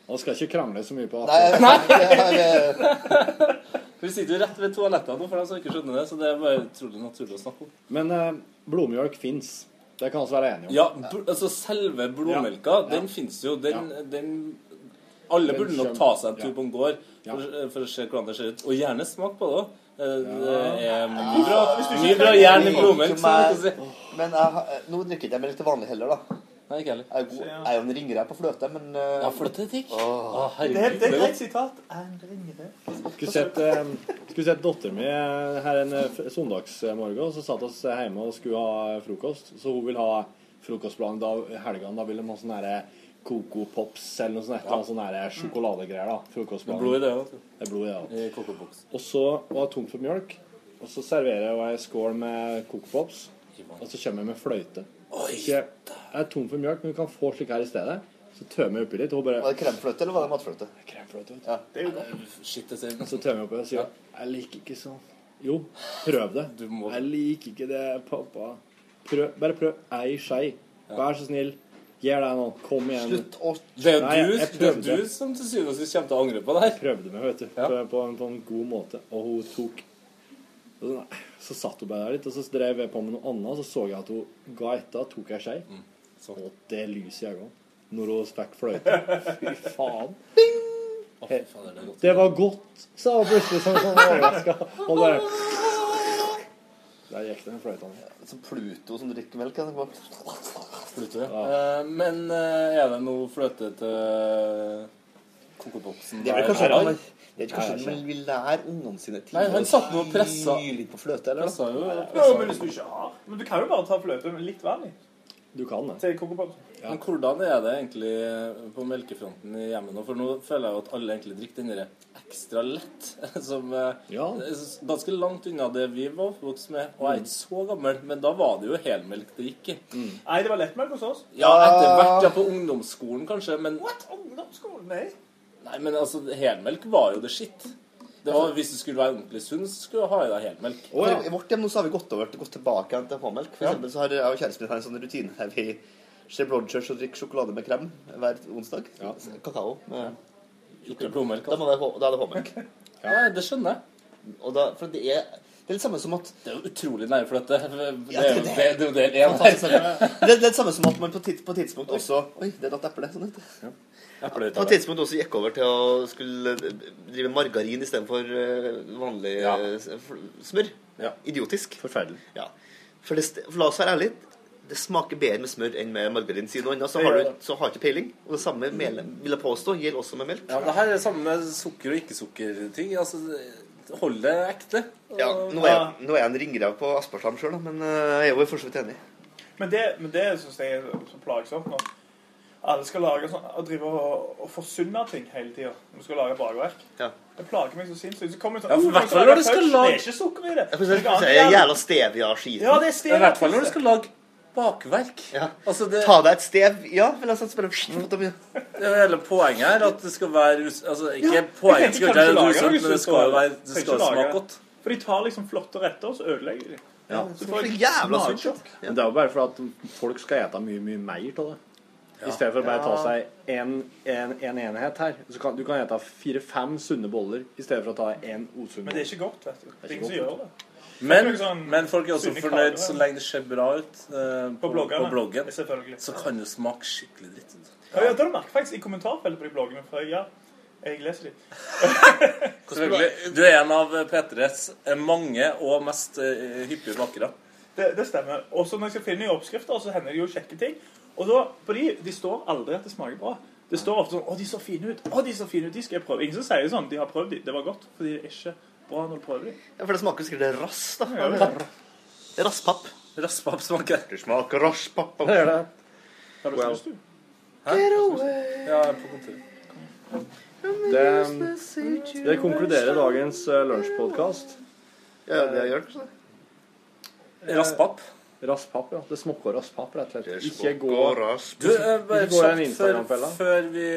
[SPEAKER 3] Han skal ikke krangle så mye på
[SPEAKER 15] Nei,
[SPEAKER 13] Nei.
[SPEAKER 15] Vi sitter jo rett ved toalettene nå, for dem som ikke skjønner det. Så det er bare utrolig naturlig å snakke om.
[SPEAKER 3] Men eh, blodmjølk fins. Det kan vi være enige om.
[SPEAKER 15] Ja, bl altså selve blodmelka,
[SPEAKER 3] Ja.
[SPEAKER 15] den fins jo. Den, den Alle
[SPEAKER 3] Den
[SPEAKER 15] burde nok
[SPEAKER 3] skjønner-
[SPEAKER 15] ta seg en tur
[SPEAKER 3] ja.
[SPEAKER 15] på en gård
[SPEAKER 3] Ja.
[SPEAKER 15] for, for å se hvordan det ser ut. Og gjerne smak på det òg. Det er mye
[SPEAKER 13] Ja,
[SPEAKER 15] bra,
[SPEAKER 13] hvis du ikke
[SPEAKER 15] mye bra
[SPEAKER 13] trenger
[SPEAKER 15] jern i
[SPEAKER 13] det,
[SPEAKER 15] blodmelk.
[SPEAKER 13] ikke
[SPEAKER 15] som jeg
[SPEAKER 13] meg.
[SPEAKER 15] liker å si.
[SPEAKER 13] Men jeg, har- nå drikker ikke jeg melk til vanlig heller, da.
[SPEAKER 15] Nei, ikke heller.
[SPEAKER 13] Jeg er, god, jeg er jo en ringrev på fløte, men eh,
[SPEAKER 15] Ja, fløte er digg.
[SPEAKER 13] Åh.
[SPEAKER 15] herregud.
[SPEAKER 14] Det er det er et greit sitat. Han ringer.
[SPEAKER 3] Skulle sett, eh, skulle sett datteren min eh, her en eh, f- søndagsmorgen, og så satt oss hjemme og skulle ha frokost. Så hun vil ha frokostblandet av helgene. Da vil de ha sånn herre Coco Pops eller noe sånt. Ja. Sånn der sjokoladegreier. da Frokostbane.
[SPEAKER 15] Det er blod i det, vet
[SPEAKER 3] Det er blod i det også. Og så var jeg tom for mjølk. Og så serverer jeg ei skål med Coco Pops. Og så kommer jeg med fløyte. Så jeg, jeg er tom for mjølk, men du kan få slik her i stedet. Så tømmer jeg oppi litt. Og hun bare
[SPEAKER 13] Var det kremfløte, eller var det matfløte?
[SPEAKER 3] Kremfløte, vet
[SPEAKER 13] du. Ja.
[SPEAKER 3] Det er jo
[SPEAKER 15] Shit, det ser
[SPEAKER 3] Så tømmer jeg oppi og sier Jeg liker ikke sånn. Jo, prøv det. Jeg liker ikke det, pappa. Prøv, bare prøv ei skei. Vær så snill. Gjør det nå. Kom igjen.
[SPEAKER 15] Slutt Det er jo
[SPEAKER 3] Nei, jeg
[SPEAKER 15] du, det er
[SPEAKER 3] prøvde.
[SPEAKER 15] jo du som til syvende og sist kommer til å angre på det her.
[SPEAKER 3] Jeg prøvde meg, vet du. På, på, en, på en god måte. Og hun tok og så- nei, Så satt hun bare der litt, og så drev jeg på med noe annet, og så så jeg at hun ga etter, tok ei skei.
[SPEAKER 15] Mm.
[SPEAKER 3] Og det lyset i øynene når hun fikk fløyte. Fy faen. Det var godt, sa hun plutselig som sånn overraska. Og bare Der gikk den fløyta.
[SPEAKER 13] Som Pluto som drikker melk. kan jeg bare-
[SPEAKER 15] Pluto, ja. Eh, men eh, er det noe fløte til eh, kokoboksen?
[SPEAKER 13] Det er vel
[SPEAKER 15] der?
[SPEAKER 13] kanskje
[SPEAKER 15] Nei.
[SPEAKER 13] det er kanskje man vil lære ungene sine til
[SPEAKER 15] Nei, han satt nå og pressa.
[SPEAKER 13] litt på fløte, eller?
[SPEAKER 15] Pressa jo, ja.
[SPEAKER 14] Ja, men hvis du ikke har Men du kan jo bare ta fløte med litt vann i.
[SPEAKER 3] Du kan det.
[SPEAKER 14] Til kokopop.
[SPEAKER 15] Men hvordan er det egentlig på melkefronten i hjemmet nå? For nå føler jeg jo at alle egentlig drikker den der ekstra lett. Som eh, er s- ganske langt unna det vi var oppvokst med. Og jeg er ikke så gammel, men da var det jo helmelk det gikk i.
[SPEAKER 14] Nei, det var lettmelk hos oss.
[SPEAKER 15] Ja, etter hvert. Ja, på ungdomsskolen kanskje, men
[SPEAKER 14] What? Ungdomsskolen? Nei.
[SPEAKER 15] Nei, men altså, helmelk var jo det shit. Det var, hvis du skulle være ordentlig sunn, så skulle du ha i deg helmelk.
[SPEAKER 13] For I vårt hjem nå så har vi gått over til gått tilbake igjen til håmelk. For
[SPEAKER 15] Ja.
[SPEAKER 13] eksempel så har jeg og kjæresten min har en sånn rutine der vi ser Blodgers og drikker sjokolade med krem hver onsdag. Kakao. Med
[SPEAKER 15] Ikke blodmelk.
[SPEAKER 13] Da, må det, være hå- da er det håmelk.
[SPEAKER 15] Ja, det skjønner jeg.
[SPEAKER 13] Og da, for det er, det er litt samme som at
[SPEAKER 15] Det er jo utrolig nær for dette. Det
[SPEAKER 13] Ja,
[SPEAKER 15] er jo det, det, er jo del én
[SPEAKER 13] Fantastisk.
[SPEAKER 15] her.
[SPEAKER 13] Det er det samme som at man på, tids, på tidspunkt også Oi, det datt eple. Sånn heter det.
[SPEAKER 15] Eple ut
[SPEAKER 13] På
[SPEAKER 15] av
[SPEAKER 13] et
[SPEAKER 15] det.
[SPEAKER 13] tidspunkt også gikk over til å skulle eh, drive margarin istedenfor vanlig eh, s- f- smør. Idiotisk.
[SPEAKER 3] Forferdelig.
[SPEAKER 13] Ja. For, det, st- for la oss være ærlige. Det smaker bedre med smør enn med margarin. Si noe annet, så har du så har du ikke peiling. Og det samme mel, vil jeg påstå gjelder også med melk.
[SPEAKER 15] Ja, det her er det samme med sukker- og ikke-sukkerting. Altså, det- hold det ekte.
[SPEAKER 13] Ja, nå er, jeg- nå er jeg en ringrev på Aspartam sjøl, men eh, jeg er jo for så vidt enig.
[SPEAKER 14] Men det, men det syns jeg er så plagsomt nå. Alle skal lage sånn og drive og, og forsunne ting hele tida. Du skal lage bakverk.
[SPEAKER 13] Ja.
[SPEAKER 14] Det plager meg så sinnssykt. Så kommer det sånn
[SPEAKER 15] Ja, for
[SPEAKER 14] «Oh,
[SPEAKER 15] i hvert
[SPEAKER 14] du
[SPEAKER 15] fall
[SPEAKER 14] lage
[SPEAKER 15] når du skal
[SPEAKER 14] touch».
[SPEAKER 15] lage-
[SPEAKER 14] Det er ikke sukker i det.
[SPEAKER 13] Jeg får si-
[SPEAKER 14] Det er
[SPEAKER 13] si-
[SPEAKER 14] annet.
[SPEAKER 13] Jævla stevia-skiten.
[SPEAKER 14] Ja, det er
[SPEAKER 15] I
[SPEAKER 14] stevia.
[SPEAKER 15] hvert fall når du skal lage bakverk.
[SPEAKER 13] Ja.
[SPEAKER 15] Altså, det-
[SPEAKER 13] Ta deg et stev. Ja, vil jeg satse på det.
[SPEAKER 15] Det er hele poenget her at det skal være us... Altså, ikke
[SPEAKER 14] Ja,
[SPEAKER 15] poenget
[SPEAKER 14] jeg tenker
[SPEAKER 15] skal ikke være
[SPEAKER 14] kanskje lage
[SPEAKER 15] usunt,
[SPEAKER 14] noe
[SPEAKER 15] men det
[SPEAKER 14] sunt
[SPEAKER 15] skal jo
[SPEAKER 14] og-
[SPEAKER 15] være, det
[SPEAKER 14] tenker
[SPEAKER 15] skal
[SPEAKER 14] lage
[SPEAKER 15] smake
[SPEAKER 14] det.
[SPEAKER 15] godt.
[SPEAKER 14] For de tar liksom flotte retter, og så ødelegger de.
[SPEAKER 3] Ja.
[SPEAKER 14] Så får jeg smaksjokk.
[SPEAKER 3] Men det er jo bare for at folk skal ete mye, mye mer av det. I stedet for å bare ta
[SPEAKER 14] Ja.
[SPEAKER 3] seg en, en, en enhet her. Så kan, du kan ete fire-fem sunne boller i stedet for å ta en usunn
[SPEAKER 14] Men det er ikke godt, vet du. Det er ingen som
[SPEAKER 3] ikke
[SPEAKER 14] gjør
[SPEAKER 3] godt,
[SPEAKER 14] det.
[SPEAKER 15] Men,
[SPEAKER 14] Folk er sånn-
[SPEAKER 15] men folk er også
[SPEAKER 14] sunne
[SPEAKER 15] fornøyd
[SPEAKER 14] kaker,
[SPEAKER 15] så
[SPEAKER 14] ja.
[SPEAKER 15] lenge det ser bra ut eh, på,
[SPEAKER 14] bloggerne,
[SPEAKER 15] på bloggen.
[SPEAKER 14] selvfølgelig.
[SPEAKER 15] Så kan det smake skikkelig dritt.
[SPEAKER 14] sånn. Ja, ja, det har du merket faktisk i kommentarfeltet på de bloggene. For jeg, ja, jeg leser de.
[SPEAKER 15] Selvfølgelig. Du er en av P3s mange og mest eh, hyppige bakere.
[SPEAKER 14] Det, det stemmer. Og så når jeg skal finne nye oppskrifter, så hender det jo kjekke ting. Og da, på de, de står aldri at det smaker bra. Det står ofte sånn 'Å, de så fine ut. Å, de så fine ut. De skal jeg prøve.' Ingen som sier sånn 'De har prøvd de. Det var godt.' Fordi det er ikke bra når du prøver de.
[SPEAKER 13] Ja, for det smaker sikkert rass, da.
[SPEAKER 14] Ja, ja.
[SPEAKER 13] Rasspapp.
[SPEAKER 15] Rasspapp smaker.
[SPEAKER 13] Det smaker rasspapp.
[SPEAKER 3] Det gjør det.
[SPEAKER 14] Har du
[SPEAKER 3] Well.
[SPEAKER 14] snust, du?
[SPEAKER 15] Get away. Ja, jeg er på kontoret.
[SPEAKER 3] Det, det konkluderer dagens eh, lunsjpodkast.
[SPEAKER 13] Ja, det gjør det kanskje det.
[SPEAKER 14] Eh,
[SPEAKER 15] Raspap.
[SPEAKER 3] Raspap, ja. Det smokker raspap, rett og slett. Ikke
[SPEAKER 13] smokker
[SPEAKER 3] gå
[SPEAKER 13] rasp.
[SPEAKER 15] Du, eh, bare
[SPEAKER 3] Ikke gå i en
[SPEAKER 15] kjapt før,
[SPEAKER 3] Instagram-fella.
[SPEAKER 15] før, vi,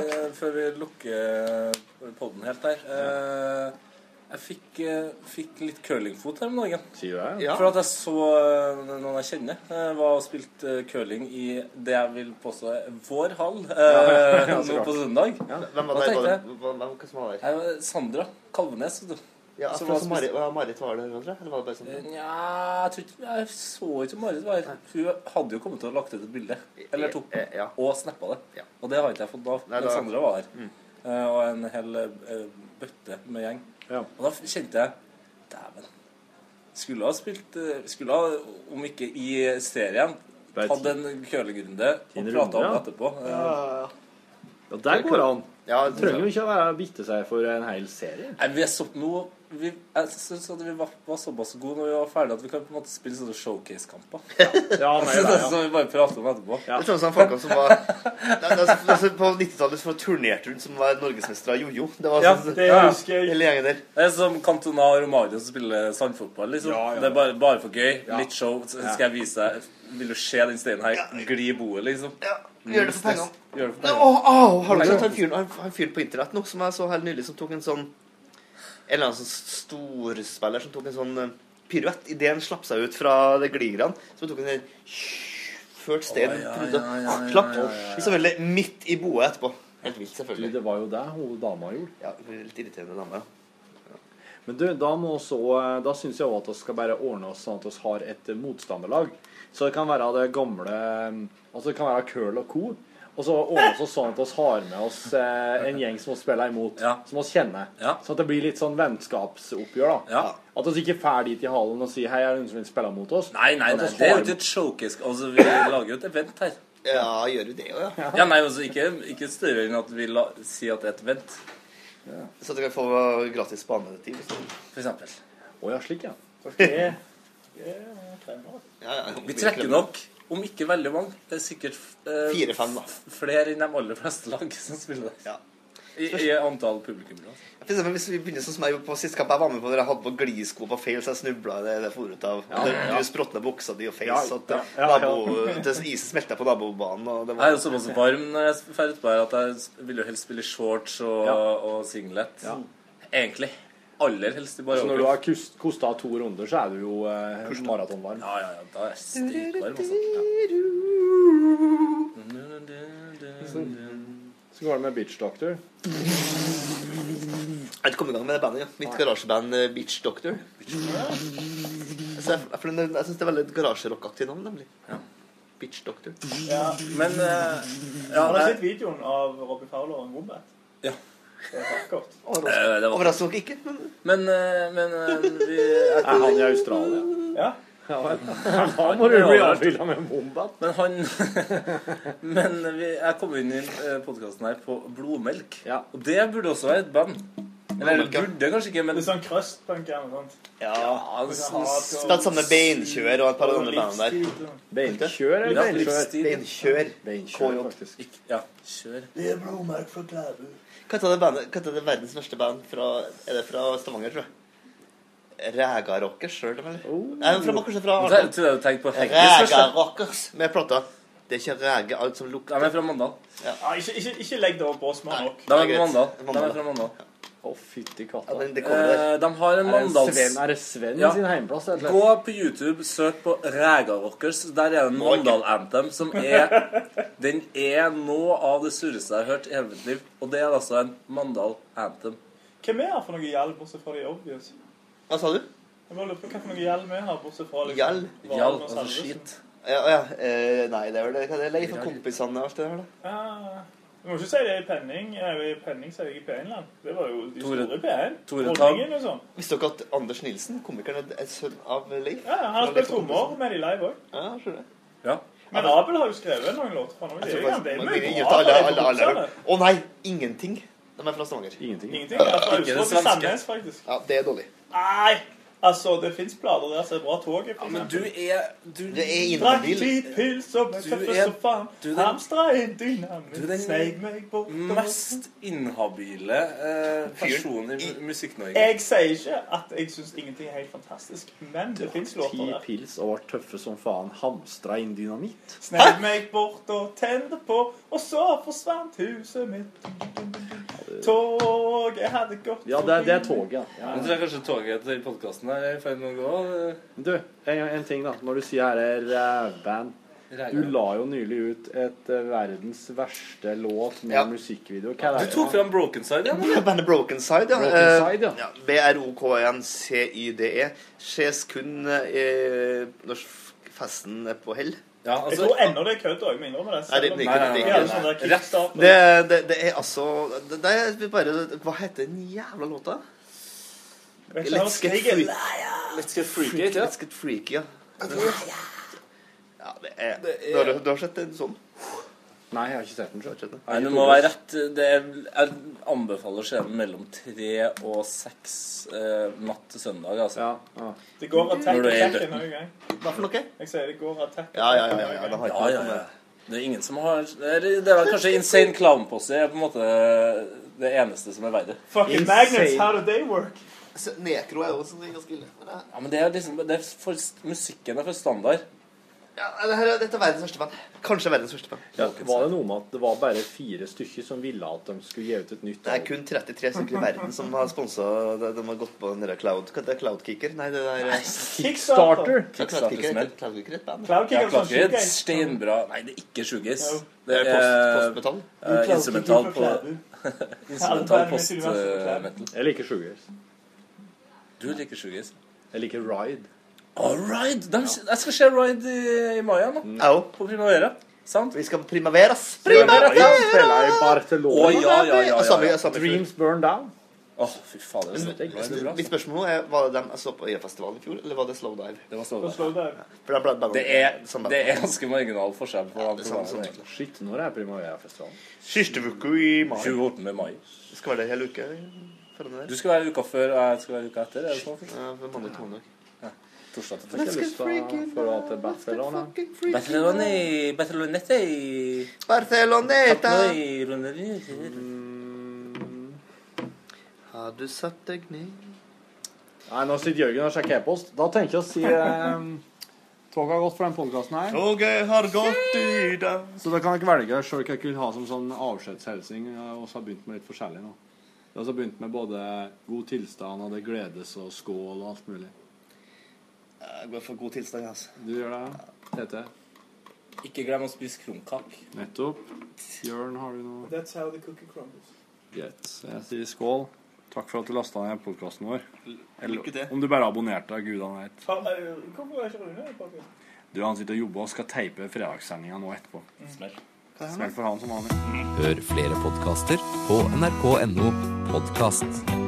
[SPEAKER 15] eh, før vi lukker podden helt der. Eh, Jeg fikk, eh, fikk litt curlingfot her om dagen.
[SPEAKER 3] Sier du det?
[SPEAKER 15] Ja. For at jeg så eh, noen jeg kjenner, eh, var og spilte eh, curling i det jeg vil påstå er vår hall eh,
[SPEAKER 13] Ja, så
[SPEAKER 15] nå
[SPEAKER 13] klart.
[SPEAKER 15] på søndag.
[SPEAKER 13] Hvem var
[SPEAKER 15] Da
[SPEAKER 13] der? Var
[SPEAKER 15] tenkte
[SPEAKER 13] det-
[SPEAKER 15] jeg-
[SPEAKER 13] Hvem hvem- hvem som var der?
[SPEAKER 15] jeg var Sandra Kalvenes. vet du.
[SPEAKER 13] Ja,
[SPEAKER 15] Som
[SPEAKER 13] for
[SPEAKER 15] var
[SPEAKER 13] som
[SPEAKER 15] spist-
[SPEAKER 13] Marit, var Marit var der, tror jeg? Eller var det bare sånn?
[SPEAKER 15] Nja, jeg, tror ikke- jeg så ikke Marit var her. Hun hadde jo kommet til å ha lagt ut et bilde. Eller tok det, og snappa det. Og det har ikke jeg fått da.
[SPEAKER 13] eh, Nei,
[SPEAKER 15] Men
[SPEAKER 13] da- Mm.
[SPEAKER 15] Sandra var her. Eh, Og en hel eh, bøtte med gjeng. Og da kjente jeg Dæven. Skulle ha spilt eh, Skulle ha, om ikke i serien,
[SPEAKER 3] Bare
[SPEAKER 15] tatt en curlingrunde og
[SPEAKER 3] en
[SPEAKER 15] prata
[SPEAKER 3] runde,
[SPEAKER 15] om
[SPEAKER 3] ja.
[SPEAKER 15] det etterpå. Eh,
[SPEAKER 3] Ja, der går det an.
[SPEAKER 13] Ja,
[SPEAKER 3] det trenger jo ikke å være bitte seg for en hel serie.
[SPEAKER 15] Nei, vi er så, nå, vi, jeg syns at vi var, var såpass gode når vi var ferdige at vi kan på en måte spille sånne showcase-kamper.
[SPEAKER 13] Ja, nei, nei, ja.
[SPEAKER 15] Som vi bare prater om etterpå.
[SPEAKER 13] Det er sånn som folkene som var Nei, det er så- altså, På 90-tallet så turnerte hun som var norgesmester av jojo. Det var
[SPEAKER 15] Ja,
[SPEAKER 13] sånn,
[SPEAKER 15] det husker
[SPEAKER 13] Hele gjengen der.
[SPEAKER 15] Det er som Cantona og Romario som spiller sandfotball. liksom.
[SPEAKER 13] Ja, ja.
[SPEAKER 15] Det er bare, bare for gøy.
[SPEAKER 13] Ja.
[SPEAKER 15] Litt show. Så
[SPEAKER 13] Ja.
[SPEAKER 15] skal jeg vise deg Vil du se den steinen her gli i bordet, liksom?
[SPEAKER 13] Gjør det for
[SPEAKER 15] Null stress.
[SPEAKER 13] pengene.
[SPEAKER 15] Gjør det for
[SPEAKER 13] Nei,
[SPEAKER 15] pengene.
[SPEAKER 13] Åh, åh, har du
[SPEAKER 15] Pengene.
[SPEAKER 13] sett han fyren han, han fyren på internett nå som jeg så helt nylig, som tok en sånn En eller annen sånn storspiller som tok en sånn eh, piruett idet han slapp seg ut fra det gligran. Så tok han en ført stein
[SPEAKER 3] Å, ja,
[SPEAKER 13] prøvde
[SPEAKER 3] ja, ja, ja,
[SPEAKER 13] å klappe
[SPEAKER 3] ja, ja, ja.
[SPEAKER 13] liksom veldig midt i boet etterpå. Helt vilt, selvfølgelig.
[SPEAKER 3] Du, det var jo det hun dama gjorde.
[SPEAKER 13] Ja, hun er litt irriterende dame, ja.
[SPEAKER 3] Men du, da, må også, da syns jeg også at vi skal bare ordne oss sånn at vi har et motstanderlag. Så det kan være det gamle Altså det kan være Curl og Co. Og så ordne oss sånn at vi har med oss eh, en gjeng som vi spiller imot, som vi kjenner. Sånn at det blir litt sånn vennskapsoppgjør, da. At vi ikke drar dit i halen og sier 'Hei, er det noen som vil spille mot oss?'
[SPEAKER 15] Nei, nei, nei. Det er jo ikke et showcase. Altså, vi lager jo et event her.
[SPEAKER 13] Ja, gjør du det òg, ja?
[SPEAKER 15] Ja, nei, altså, ikke, ikke større enn at vi la, sier at det er et event.
[SPEAKER 13] Så du kan få gratis banetid.
[SPEAKER 15] For eksempel.
[SPEAKER 3] Å ja, slik, ja.
[SPEAKER 15] Okay.
[SPEAKER 13] Ja, ja,
[SPEAKER 15] Vi trekker nok, om ikke veldig mange, det er sikkert eh,
[SPEAKER 13] Fire-fem, da.
[SPEAKER 15] f- flere enn de aller fleste lag som spiller der. I, I antall publikummere.
[SPEAKER 13] For eksempel, hvis vi begynner sånn som jeg gjorde på sist kamp jeg var med på, der jeg hadde på glisko på feil, så jeg snubla i det jeg for ut av.
[SPEAKER 15] Ja,
[SPEAKER 13] Du-
[SPEAKER 15] ja.
[SPEAKER 13] Du språtna buksa di og feil,
[SPEAKER 15] Ja,
[SPEAKER 13] så at
[SPEAKER 15] ja, ja, ja.
[SPEAKER 13] nabo, det, isen smelta på nabobanen. Og det
[SPEAKER 15] Jeg er jo såpass varm når jeg drar utpå her at jeg s- vil jo helst spille shorts og,
[SPEAKER 3] Ja.
[SPEAKER 15] og singlet.
[SPEAKER 3] Ja.
[SPEAKER 15] Egentlig. Aller helst i bare
[SPEAKER 3] Så når du
[SPEAKER 15] overkropp.
[SPEAKER 3] har kust- kosta to runder, så er du jo eh, maratonvarm.
[SPEAKER 15] Ja, ja, ja. Da er jeg stikvarm, altså.
[SPEAKER 3] Så, så går det med Bitch Doctor.
[SPEAKER 13] Jeg har ikke kommet i gang med det bandet. Ja. Mitt garasjeband eh, Beach Doctor. Så jeg, for den- jeg syns det er veldig garasjerockaktig navn, nemlig. Beach Doctor.
[SPEAKER 14] Ja.
[SPEAKER 15] Men eh, ja,
[SPEAKER 14] Har du
[SPEAKER 15] nei.
[SPEAKER 14] sett videoen av Robbie Fowler og en wombat?
[SPEAKER 15] Ja.
[SPEAKER 14] Det er vakkert.
[SPEAKER 15] Eh, det var-
[SPEAKER 13] Overrasker dere ikke? Men,
[SPEAKER 15] men, eh, men eh, vi
[SPEAKER 3] Er han i Australia?
[SPEAKER 14] Ja.
[SPEAKER 3] Ja vel. Da må du bli avbilda med bombat.
[SPEAKER 15] Men han Men vi, jeg kom inn i podkasten her på Blodmelk. Og det burde også være et band. Eller
[SPEAKER 13] Blodmelk, ja.
[SPEAKER 15] burde kanskje ikke, men
[SPEAKER 14] Litt sånn crust-punk eller noe sånt.
[SPEAKER 13] Ja.
[SPEAKER 15] en sånn-
[SPEAKER 13] Spilt sammen med Beinkjør og et par av de andre bandene der.
[SPEAKER 3] Beinkjør eller
[SPEAKER 13] Ja,
[SPEAKER 3] Beinkjør?
[SPEAKER 13] Beinkjør.
[SPEAKER 3] Beinkjør,
[SPEAKER 13] KJ.
[SPEAKER 3] faktisk.
[SPEAKER 15] Ja, kjør.
[SPEAKER 13] Det er blodmerk fra Klæbu. Hva heter det bandet- hva heter det verdens verste band fra Er det fra Stavanger, tror jeg? Ræga Rockers, sjøl, eller?
[SPEAKER 14] Oh.
[SPEAKER 13] Nei, de er fra Bakkersen fra
[SPEAKER 15] Det er- tror jeg du tenkte på Heggis først,
[SPEAKER 13] Ræga
[SPEAKER 15] da.
[SPEAKER 13] Rockers med plata. Det er ikke ræge alt som lukter.
[SPEAKER 15] De er fra Mandal.
[SPEAKER 13] Ja.
[SPEAKER 14] Ja, ikke, ikke, ikke legg det over på oss, vi har nok.
[SPEAKER 15] De er fra Mandal. De er fra Mandal.
[SPEAKER 3] Å, fytti katta.
[SPEAKER 15] Eh, de har en
[SPEAKER 3] Er det
[SPEAKER 15] Mandals...
[SPEAKER 3] Sven- er det Sven sin heimplass, rett og slett?
[SPEAKER 15] Gå på YouTube, søk på Ræga Rockers. Der er det en Mandal Anthem som er Den er noe av det surreste jeg har hørt i hele mitt liv. Og det er altså en Mandal Anthem.
[SPEAKER 14] Hvem er her for noe hjelp, bortsett fra de obvious?
[SPEAKER 13] Hva sa du?
[SPEAKER 14] Jeg bare lurer på hva for noe hjelm er her, bortsett fra liksom,
[SPEAKER 13] Gjall?
[SPEAKER 14] Valen og
[SPEAKER 13] Altså,
[SPEAKER 15] altså
[SPEAKER 14] Salvesen.
[SPEAKER 13] Ja, ja. Eh, nei, det er vel det. Hva er det? Leif og kompisene og alt det der, da.
[SPEAKER 14] Ja. Du må ikke si det i penning. Eh, i Penning sier jeg i P1-land. Det var jo de
[SPEAKER 13] Tore-
[SPEAKER 14] store i P1.
[SPEAKER 13] Tore
[SPEAKER 14] Dronningen, liksom.
[SPEAKER 13] Visste dere at Anders Nilsen, komikeren, er sønn av Leif?
[SPEAKER 14] Ja, han har spilt trommer med de live òg.
[SPEAKER 13] Ja, jeg skjønner det.
[SPEAKER 14] Men Abel har jo skrevet noen låter for ham. Det er jo det er mye bra.
[SPEAKER 13] Alle,
[SPEAKER 14] det er
[SPEAKER 13] alle, alle,
[SPEAKER 14] kompisene.
[SPEAKER 13] alle. Å nei, ingenting. De er fra Stavanger.
[SPEAKER 3] Ingenting.
[SPEAKER 14] Ingenting. Det er fra Austevoll til Sandnes, faktisk.
[SPEAKER 13] Ja, det er dårlig.
[SPEAKER 14] Nei! Altså, det fins plater der som er bra tog. Ja,
[SPEAKER 15] men du er du,
[SPEAKER 13] Det er
[SPEAKER 14] Drakk
[SPEAKER 13] inhabil.
[SPEAKER 14] ti pils og ble
[SPEAKER 15] Du
[SPEAKER 14] tøff
[SPEAKER 15] er-
[SPEAKER 14] som faen.
[SPEAKER 15] du er den-
[SPEAKER 14] Hamstra en dynamitt.
[SPEAKER 15] Du er den
[SPEAKER 14] Sneik meg bort.
[SPEAKER 15] mest inhabile eh, personen i mu- Musikk-Norge.
[SPEAKER 14] Jeg sier ikke at jeg syns ingenting er helt fantastisk, men det fins
[SPEAKER 3] Ti
[SPEAKER 14] låter der.
[SPEAKER 3] pils og var tøffe som faen. Hamstra inn dynamitt.
[SPEAKER 14] Sneik meg bort og tente på, og så forsvant huset mitt. Toget hadde gått
[SPEAKER 3] Ja, det er, det er toget, ja.
[SPEAKER 15] Jeg tror jeg kanskje toget til podkasten her er i ferd med å gå. eh,
[SPEAKER 3] Du, en, en ting, da. Når du sier her er rævband Du la jo nylig ut et eh, verdens verste låt med
[SPEAKER 13] Ja.
[SPEAKER 3] musikkvideo. Hva er
[SPEAKER 15] Du
[SPEAKER 3] det?
[SPEAKER 15] tok fram Broken Side igjen,
[SPEAKER 13] Det er Bandet Broken Side, ja.
[SPEAKER 3] Broken Side,
[SPEAKER 13] Eh, ja. B-R-O-K-N-C-Y-D-E. Ses E. kun eh, når festen er på hell.
[SPEAKER 14] Jeg
[SPEAKER 15] altså-
[SPEAKER 14] tror ennå det er kødd òg, jeg må innrømme det.
[SPEAKER 13] Nei, det- det- det-
[SPEAKER 14] det er
[SPEAKER 13] det-
[SPEAKER 14] ikke
[SPEAKER 13] Det, det, det er altså det, det er bare Hva heter den jævla låta? Let's get freaky.
[SPEAKER 15] Let's get freaky, ikke
[SPEAKER 13] Let's get freaky, ja. Ja, det er, du, har, du har sett en sånn?
[SPEAKER 3] Nei, jeg har ikke sett den sjøl.
[SPEAKER 15] Nei, du må være rett. Det er, jeg anbefaler å se den mellom tre og seks eh, natt til søndag. Altså.
[SPEAKER 14] Det går attack
[SPEAKER 15] Når du er i
[SPEAKER 14] attack
[SPEAKER 15] døtten.
[SPEAKER 14] denne gang.
[SPEAKER 13] Hva for noe?
[SPEAKER 14] Jeg sier det går attack
[SPEAKER 15] Ja, ja, ja, ja, det har ikke noe med- Det er ingen som har eller Det er vel kanskje Insane Clown Posse er på en måte det eneste som er verre.
[SPEAKER 14] Fucking magnets, how do they work?
[SPEAKER 13] Nekro Altså, er jo også en ganske ille. Men eh. jeg-
[SPEAKER 15] Ja, men det er liksom det er for, Musikken er for standard.
[SPEAKER 13] Ja, altså, det her, dette er verdens største band. Kanskje verdens største band.
[SPEAKER 3] Ja, var det noe med at det var bare fire stykker som ville at de skulle gi ut et nytt
[SPEAKER 13] Det er kun 33 stykker i verden som har sponsa De de har gått på den der Cloud Hva heter det? Cloudkicker? Nei, det der
[SPEAKER 15] Kickstarter.
[SPEAKER 13] Ja, Cloudkicker er Cloudkicker er sånn et band.
[SPEAKER 15] Ja, Cloudkicker er et steinbra Nei, det er ikke Shoegaze.
[SPEAKER 13] Jo.
[SPEAKER 15] Det
[SPEAKER 13] Det er post- postmetall.
[SPEAKER 15] eh, instrumental på Instrumental
[SPEAKER 3] Album med Sylvester Klæbu.
[SPEAKER 15] post-metal.
[SPEAKER 3] Jeg liker Shoegaze.
[SPEAKER 15] Du liker Shoegaze?
[SPEAKER 3] Jeg liker Ride.
[SPEAKER 15] Å, Ride! De, Jeg skal se Ride i, i mai igjen, da.
[SPEAKER 13] Au.
[SPEAKER 15] På Primavera. Sant?
[SPEAKER 13] Vi skal på Primaveras.
[SPEAKER 3] De spiller i Barcelona.
[SPEAKER 15] Å, ja, ja, ja, ja,
[SPEAKER 13] Samme-
[SPEAKER 15] ja.
[SPEAKER 13] samme-
[SPEAKER 3] Dreams Burn Down.
[SPEAKER 15] Åh, fy fader. det er bra. Det er bra. altså.
[SPEAKER 13] Mitt spørsmål er Var det dem jeg så på Øyafestivalen i fjor, eller var det Slow Dive?
[SPEAKER 15] Det var Slow Dive.
[SPEAKER 14] Slow Dive.
[SPEAKER 13] For da ble det
[SPEAKER 15] Det er, det er ganske marginal forskjell på ja,
[SPEAKER 13] samme som Tyskland.
[SPEAKER 3] Shit, når er Primavera-festivalen?
[SPEAKER 13] Siste uke i mai.
[SPEAKER 15] 28. mai.
[SPEAKER 13] Skal være der hele uka? foran der.
[SPEAKER 15] Du skal være uka før, og jeg skal være uka etter. Er det sånn?
[SPEAKER 13] Ja, for mandag til mandag.
[SPEAKER 15] Ja. Torsdag til
[SPEAKER 3] Jeg har lyst til å
[SPEAKER 15] fredag.
[SPEAKER 3] dra til Barcelona.
[SPEAKER 15] Barcelona- Barceloneta i
[SPEAKER 13] Barceloneta.
[SPEAKER 15] i Ronaldinho.
[SPEAKER 13] Har du satt deg ned?
[SPEAKER 3] Nei, nå sitter Jørgen og sjekker e-post. Da tenker jeg å si ehm, Toget har gått for den podkasten her.
[SPEAKER 13] Toget har gått i dag.
[SPEAKER 3] Så da kan dere velge sjøl hva dere vil ha som sånn avskjedshilsing. Og så har begynt med litt forskjellig nå. Vi har også begynt med både god tilstand og det gledes og skål og alt mulig.
[SPEAKER 13] Jeg går for god tilstand, altså.
[SPEAKER 3] Du gjør det, ja? Tete?
[SPEAKER 15] Ikke glem å spise krumkake.
[SPEAKER 3] Nettopp. Jørn, har du noe
[SPEAKER 14] That's how the cookie crumbles.
[SPEAKER 3] Greit. Jeg sier skål. Takk for at du lasta ned podkasten vår.
[SPEAKER 14] lykke til.
[SPEAKER 3] Eller om du bare abonnerte, gudene vet.
[SPEAKER 14] Faen, eh, Hvorfor er ikke Rune i podcasten?
[SPEAKER 3] Du, han sitter og jobber og skal teipe fredagssendinga nå etterpå.
[SPEAKER 13] Mm.
[SPEAKER 15] Smell.
[SPEAKER 3] Smell for han som vanlig.
[SPEAKER 17] Hør flere podkaster på nrk.no podkast.